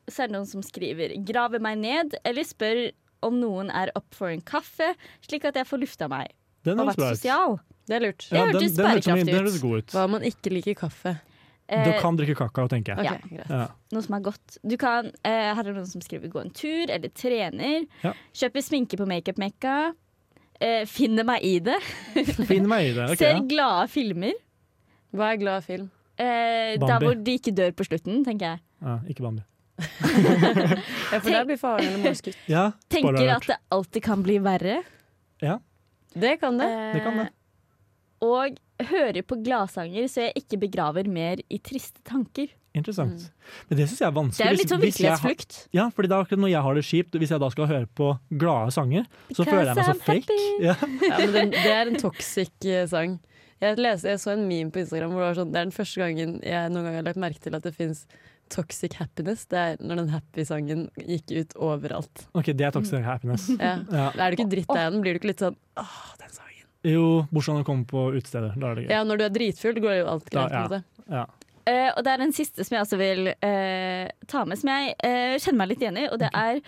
Speaker 3: så er det noen som skriver 'grave meg ned', eller spør om noen er up for en kaffe, slik at jeg får lufta meg.
Speaker 1: Den
Speaker 3: Og
Speaker 1: høres
Speaker 3: vært
Speaker 1: bra ut.
Speaker 3: sosial.
Speaker 2: Det er lurt.
Speaker 3: Ja.
Speaker 1: den-
Speaker 3: hørtes
Speaker 1: den høres som-
Speaker 3: bærekraftig
Speaker 1: Den
Speaker 3: ut.
Speaker 1: høres god ut.
Speaker 2: Hva om man ikke liker kaffe?
Speaker 1: Du
Speaker 3: Eh,
Speaker 1: kan drikke kakao, tenker jeg.
Speaker 2: Ok,
Speaker 3: Ja.
Speaker 2: greit.
Speaker 1: Ja.
Speaker 3: Noe som er godt. Du kan, eh, her er det noen som skriver 'gå en tur', eller 'trener'.
Speaker 1: Ja.
Speaker 3: Kjøpe sminke på makeup-mekka. Eh, finne meg i det.
Speaker 1: Finn meg i det. ok,
Speaker 3: Ser
Speaker 1: ja.
Speaker 3: glade filmer.
Speaker 2: Hva er glad film?
Speaker 3: Eh, der
Speaker 1: Bambi.
Speaker 3: hvor de ikke dør på slutten, tenker jeg.
Speaker 1: Ja, ikke Bambi.
Speaker 2: Ja, for der blir faren eller mor skutt.
Speaker 1: Ja,
Speaker 3: Tenker
Speaker 1: spoiler
Speaker 3: at det alltid kan bli verre.
Speaker 2: Det kan det.
Speaker 1: alert. det kan det.
Speaker 3: Eh, Og hører på gladsanger så jeg ikke begraver mer i triste tanker.
Speaker 1: Interessant. Men det syns jeg er vanskelig.
Speaker 3: Mm. Det er jo litt
Speaker 1: Hvis-
Speaker 3: sånn
Speaker 1: hvis jeg har-
Speaker 3: virkelighetsflukt.
Speaker 1: Ja, fordi det er akkurat når jeg har det kjipt, hvis jeg da skal høre på glade sanger, så
Speaker 3: Because
Speaker 1: føler jeg meg så
Speaker 3: I'm happy.
Speaker 1: fake. Ja.
Speaker 2: Ja, men det, det er en toxic eh, sang. Jeg, leste, jeg så en meme på Instagram hvor det var sånn Det er den første gangen jeg noen gang har lagt merke til at det fins toxic happiness. Det er når den happy-sangen gikk ut overalt.
Speaker 1: Ok, det er toxic happiness.
Speaker 2: Ja.
Speaker 1: Ja.
Speaker 2: Er du ikke dritt deg igjen, blir du ikke litt sånn Åh, den sangen.
Speaker 1: Jo, bortsett fra å komme på utesteder. Da er det gøy.
Speaker 2: Ja, når du er dritfull, går jo alt
Speaker 1: Da,
Speaker 2: greit. på en
Speaker 1: ja.
Speaker 2: måte.
Speaker 1: Ja.
Speaker 3: Eh, og det er en siste som jeg også vil eh, ta med, som jeg eh, kjenner meg litt igjen i. Og det er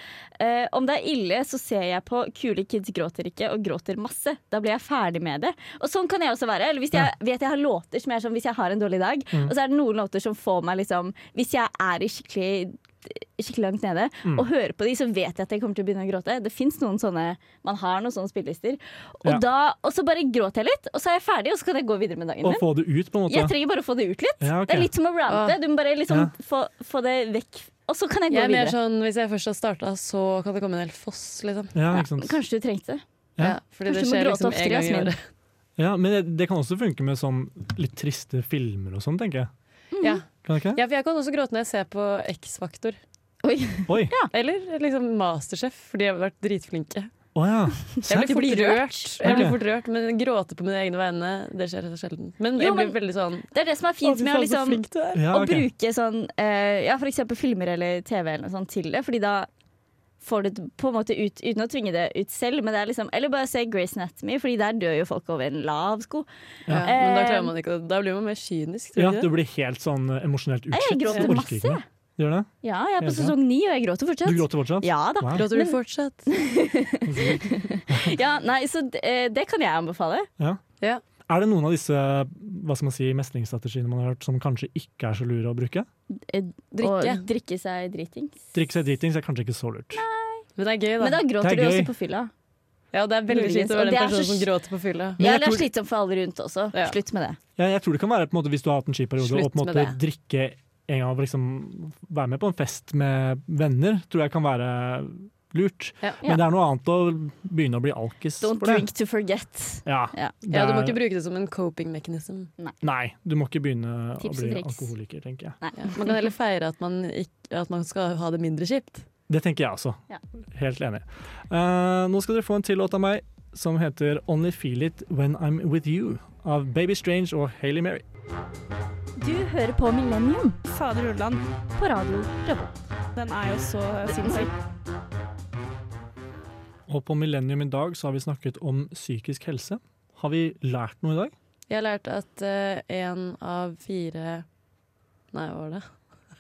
Speaker 3: eh, om det er ille, så ser jeg på kule kids gråter ikke, og gråter masse. Da blir jeg ferdig med det. Og sånn kan jeg også være. Eller hvis jeg vet jeg har låter som jeg er sånn hvis jeg har en dårlig dag,
Speaker 1: Mm.
Speaker 3: og så er det noen låter som får meg liksom Hvis jeg er i skikkelig skikkelig langt nede
Speaker 1: Mm.
Speaker 3: og hører på de, så vet jeg at jeg kommer til å begynne å gråte. Det fins noen sånne Man har noen sånne spillelister. Og,
Speaker 1: Ja.
Speaker 3: da, og så bare gråter jeg litt, og så er jeg ferdig, og så kan jeg gå videre med dagen
Speaker 1: Å
Speaker 3: min.
Speaker 1: få det ut, på en
Speaker 3: Jeg
Speaker 1: måte.
Speaker 3: trenger bare å få det ut litt.
Speaker 1: Ja, ok.
Speaker 3: Det er litt som å rante. Du må bare liksom
Speaker 1: Ja.
Speaker 3: få, få det vekk, og så kan jeg gå
Speaker 2: Jeg er mer
Speaker 3: videre.
Speaker 2: sånn hvis jeg først har starta, så kan det komme en hel foss, liksom.
Speaker 1: Ja,
Speaker 3: sånn- Ja,
Speaker 1: ikke sant?
Speaker 3: Kanskje du trengte det.
Speaker 1: Ja.
Speaker 2: Ja, fordi det
Speaker 3: Kanskje du må
Speaker 2: skjer
Speaker 3: gråte
Speaker 2: liksom
Speaker 3: oftere,
Speaker 2: en gang i
Speaker 3: Jasmin.
Speaker 2: året.
Speaker 1: Ja, men det, det kan også funke med sånn litt triste filmer og sånn, tenker jeg.
Speaker 3: Mm.
Speaker 2: Ja.
Speaker 1: Kan det ikke?
Speaker 2: ja, for jeg kan også gråte når jeg ser på X-Faktor.
Speaker 1: Oi! Å ja.
Speaker 2: Eller liksom Masterchef, for de har vært dritflinke.
Speaker 1: Serr?
Speaker 2: Jeg blir fort
Speaker 3: rørt.
Speaker 2: rørt. Jeg blir
Speaker 1: Ok.
Speaker 2: fort rørt, men gråte på mine egne vegne, det skjer sjelden. Men
Speaker 3: Jo,
Speaker 2: jeg blir
Speaker 3: men-
Speaker 2: veldig sånn
Speaker 3: Det er det som er
Speaker 2: Å,
Speaker 3: fint
Speaker 2: fy
Speaker 3: med å,
Speaker 2: faen, så
Speaker 3: liksom,
Speaker 2: flink du er.
Speaker 1: Ja,
Speaker 3: å
Speaker 1: ok.
Speaker 3: bruke sånn eh, Ja, for eksempel filmer eller TV eller noe sånt til det, fordi da får du det på en måte ut uten å tvinge det ut selv. Men det er liksom, eller bare se Grace Anatomy, Fordi der dør jo folk over en lav sko.
Speaker 2: Ja, men
Speaker 3: Eh,
Speaker 2: da klarer man ikke å- Da blir man mer kynisk, tror
Speaker 1: Ja,
Speaker 2: du
Speaker 1: du
Speaker 2: ikke det?
Speaker 1: blir helt sånn eh, emosjonelt utslitt.
Speaker 3: Jeg gråter
Speaker 1: orker
Speaker 3: masse.
Speaker 1: ikke mer. Gjør det?
Speaker 3: Ja, jeg er
Speaker 1: Ja,
Speaker 3: på
Speaker 1: ja.
Speaker 3: sesong ni, og jeg gråter fortsatt.
Speaker 1: Du gråter fortsatt?
Speaker 3: Ja da.
Speaker 1: Wow.
Speaker 2: Gråter du fortsatt?
Speaker 3: Ja, nei, så eh, det kan jeg anbefale.
Speaker 1: Ja.
Speaker 2: Ja.
Speaker 1: Er det noen av disse hva skal man si, mestringsstrategiene man har hørt som kanskje ikke er så lure å bruke?
Speaker 2: Drikke.
Speaker 3: Og drikke seg dritings.
Speaker 1: Drikke seg dritings er kanskje ikke så lurt.
Speaker 2: Men det er gøy, da.
Speaker 3: Men da gråter
Speaker 1: Det er
Speaker 3: du
Speaker 1: gøy.
Speaker 3: også på fylla.
Speaker 2: ja, det er veldig
Speaker 3: Muligens.
Speaker 2: kjipt å
Speaker 3: Og
Speaker 2: være
Speaker 3: det
Speaker 2: den
Speaker 3: er
Speaker 2: personen
Speaker 3: så
Speaker 2: som gråter på
Speaker 1: Men
Speaker 2: fylla.
Speaker 3: Ja,
Speaker 1: jeg
Speaker 3: det er
Speaker 1: tror-
Speaker 3: slitsomt for alle rundt også.
Speaker 2: Ja.
Speaker 3: Slutt med det.
Speaker 1: Jeg, jeg tror det kan være på en måte hvis du har hatt en kjip periode og
Speaker 2: Slutt
Speaker 1: på en måte
Speaker 2: med
Speaker 1: drikke en gang og liksom være med på en fest med venner, tror jeg kan være lurt.
Speaker 2: Ja.
Speaker 1: Men det er noe annet å begynne å bli alkis
Speaker 3: Don't
Speaker 1: for det.
Speaker 3: drink to forget.
Speaker 1: Ja,
Speaker 3: Ja.
Speaker 1: det
Speaker 2: Ja, du må
Speaker 1: er-
Speaker 2: ikke bruke det som en coping mechanism.
Speaker 1: Nei, du må ikke begynne å
Speaker 3: Tips og
Speaker 1: bli
Speaker 3: triks.
Speaker 1: alkoholiker, tenker jeg.
Speaker 3: Nei.
Speaker 2: Ja. Man kan heller feire at man, ikke, at man skal ha det mindre kjipt.
Speaker 1: Det tenker jeg også.
Speaker 3: Ja.
Speaker 1: Helt enig. Eh, nå skal dere få en til låt av meg som heter Only Feel It When I'm With You av Baby Strange og Hailey Mary.
Speaker 3: Du hører på Millennium
Speaker 8: Fader Ulland,
Speaker 3: på radio. Revolt.
Speaker 8: den er jo så sinnssyk.
Speaker 1: Og på Millennium i dag så har vi snakket om psykisk helse. Har vi lært noe i dag?
Speaker 2: Jeg har lært at én av fire Nei, hva var det?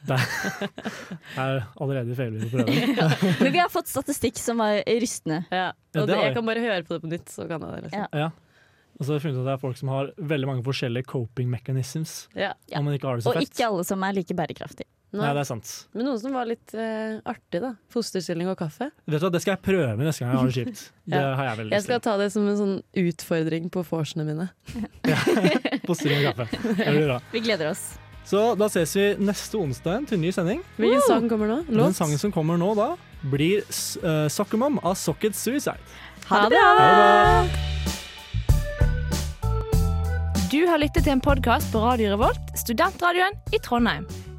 Speaker 1: Jeg er allerede feilvillig på prøven.
Speaker 3: Men vi har fått statistikk som var rystende.
Speaker 2: Ja.
Speaker 1: Ja, det
Speaker 2: Og det,
Speaker 1: har jeg.
Speaker 2: jeg kan bare høre på det på nytt, så kan jeg det. Liksom.
Speaker 1: Ja. Og så har jeg funnet ut at det er folk som har veldig mange forskjellige coping mechanisms.
Speaker 2: Ja.
Speaker 3: Ja.
Speaker 1: Om man ikke har det så
Speaker 3: Og
Speaker 1: fett.
Speaker 3: ikke alle som er like bærekraftige.
Speaker 1: Nei,
Speaker 2: Nei.
Speaker 1: det er sant.
Speaker 2: Men noe som var litt eh, artig, da. Fosterstilling og kaffe.
Speaker 1: Vet du hva, Det skal jeg prøve neste gang jeg har det kjipt. Det
Speaker 2: Ja.
Speaker 1: har jeg veldig
Speaker 2: Jeg
Speaker 1: lyst
Speaker 2: skal
Speaker 1: til.
Speaker 2: ta det som en sånn utfordring på vorsene mine.
Speaker 1: På String og kaffe. Det blir bra.
Speaker 3: Vi gleder oss.
Speaker 1: Så da ses vi neste onsdag til ny sending.
Speaker 2: Hvilken sang kommer nå?
Speaker 1: Den
Speaker 2: Låt?
Speaker 1: sangen som kommer nå da, blir uh, Soccer Mom av Socket Suicide.
Speaker 3: Ha det bra!
Speaker 9: Du har lyttet til en podkast på Radio Revolt, studentradioen i Trondheim.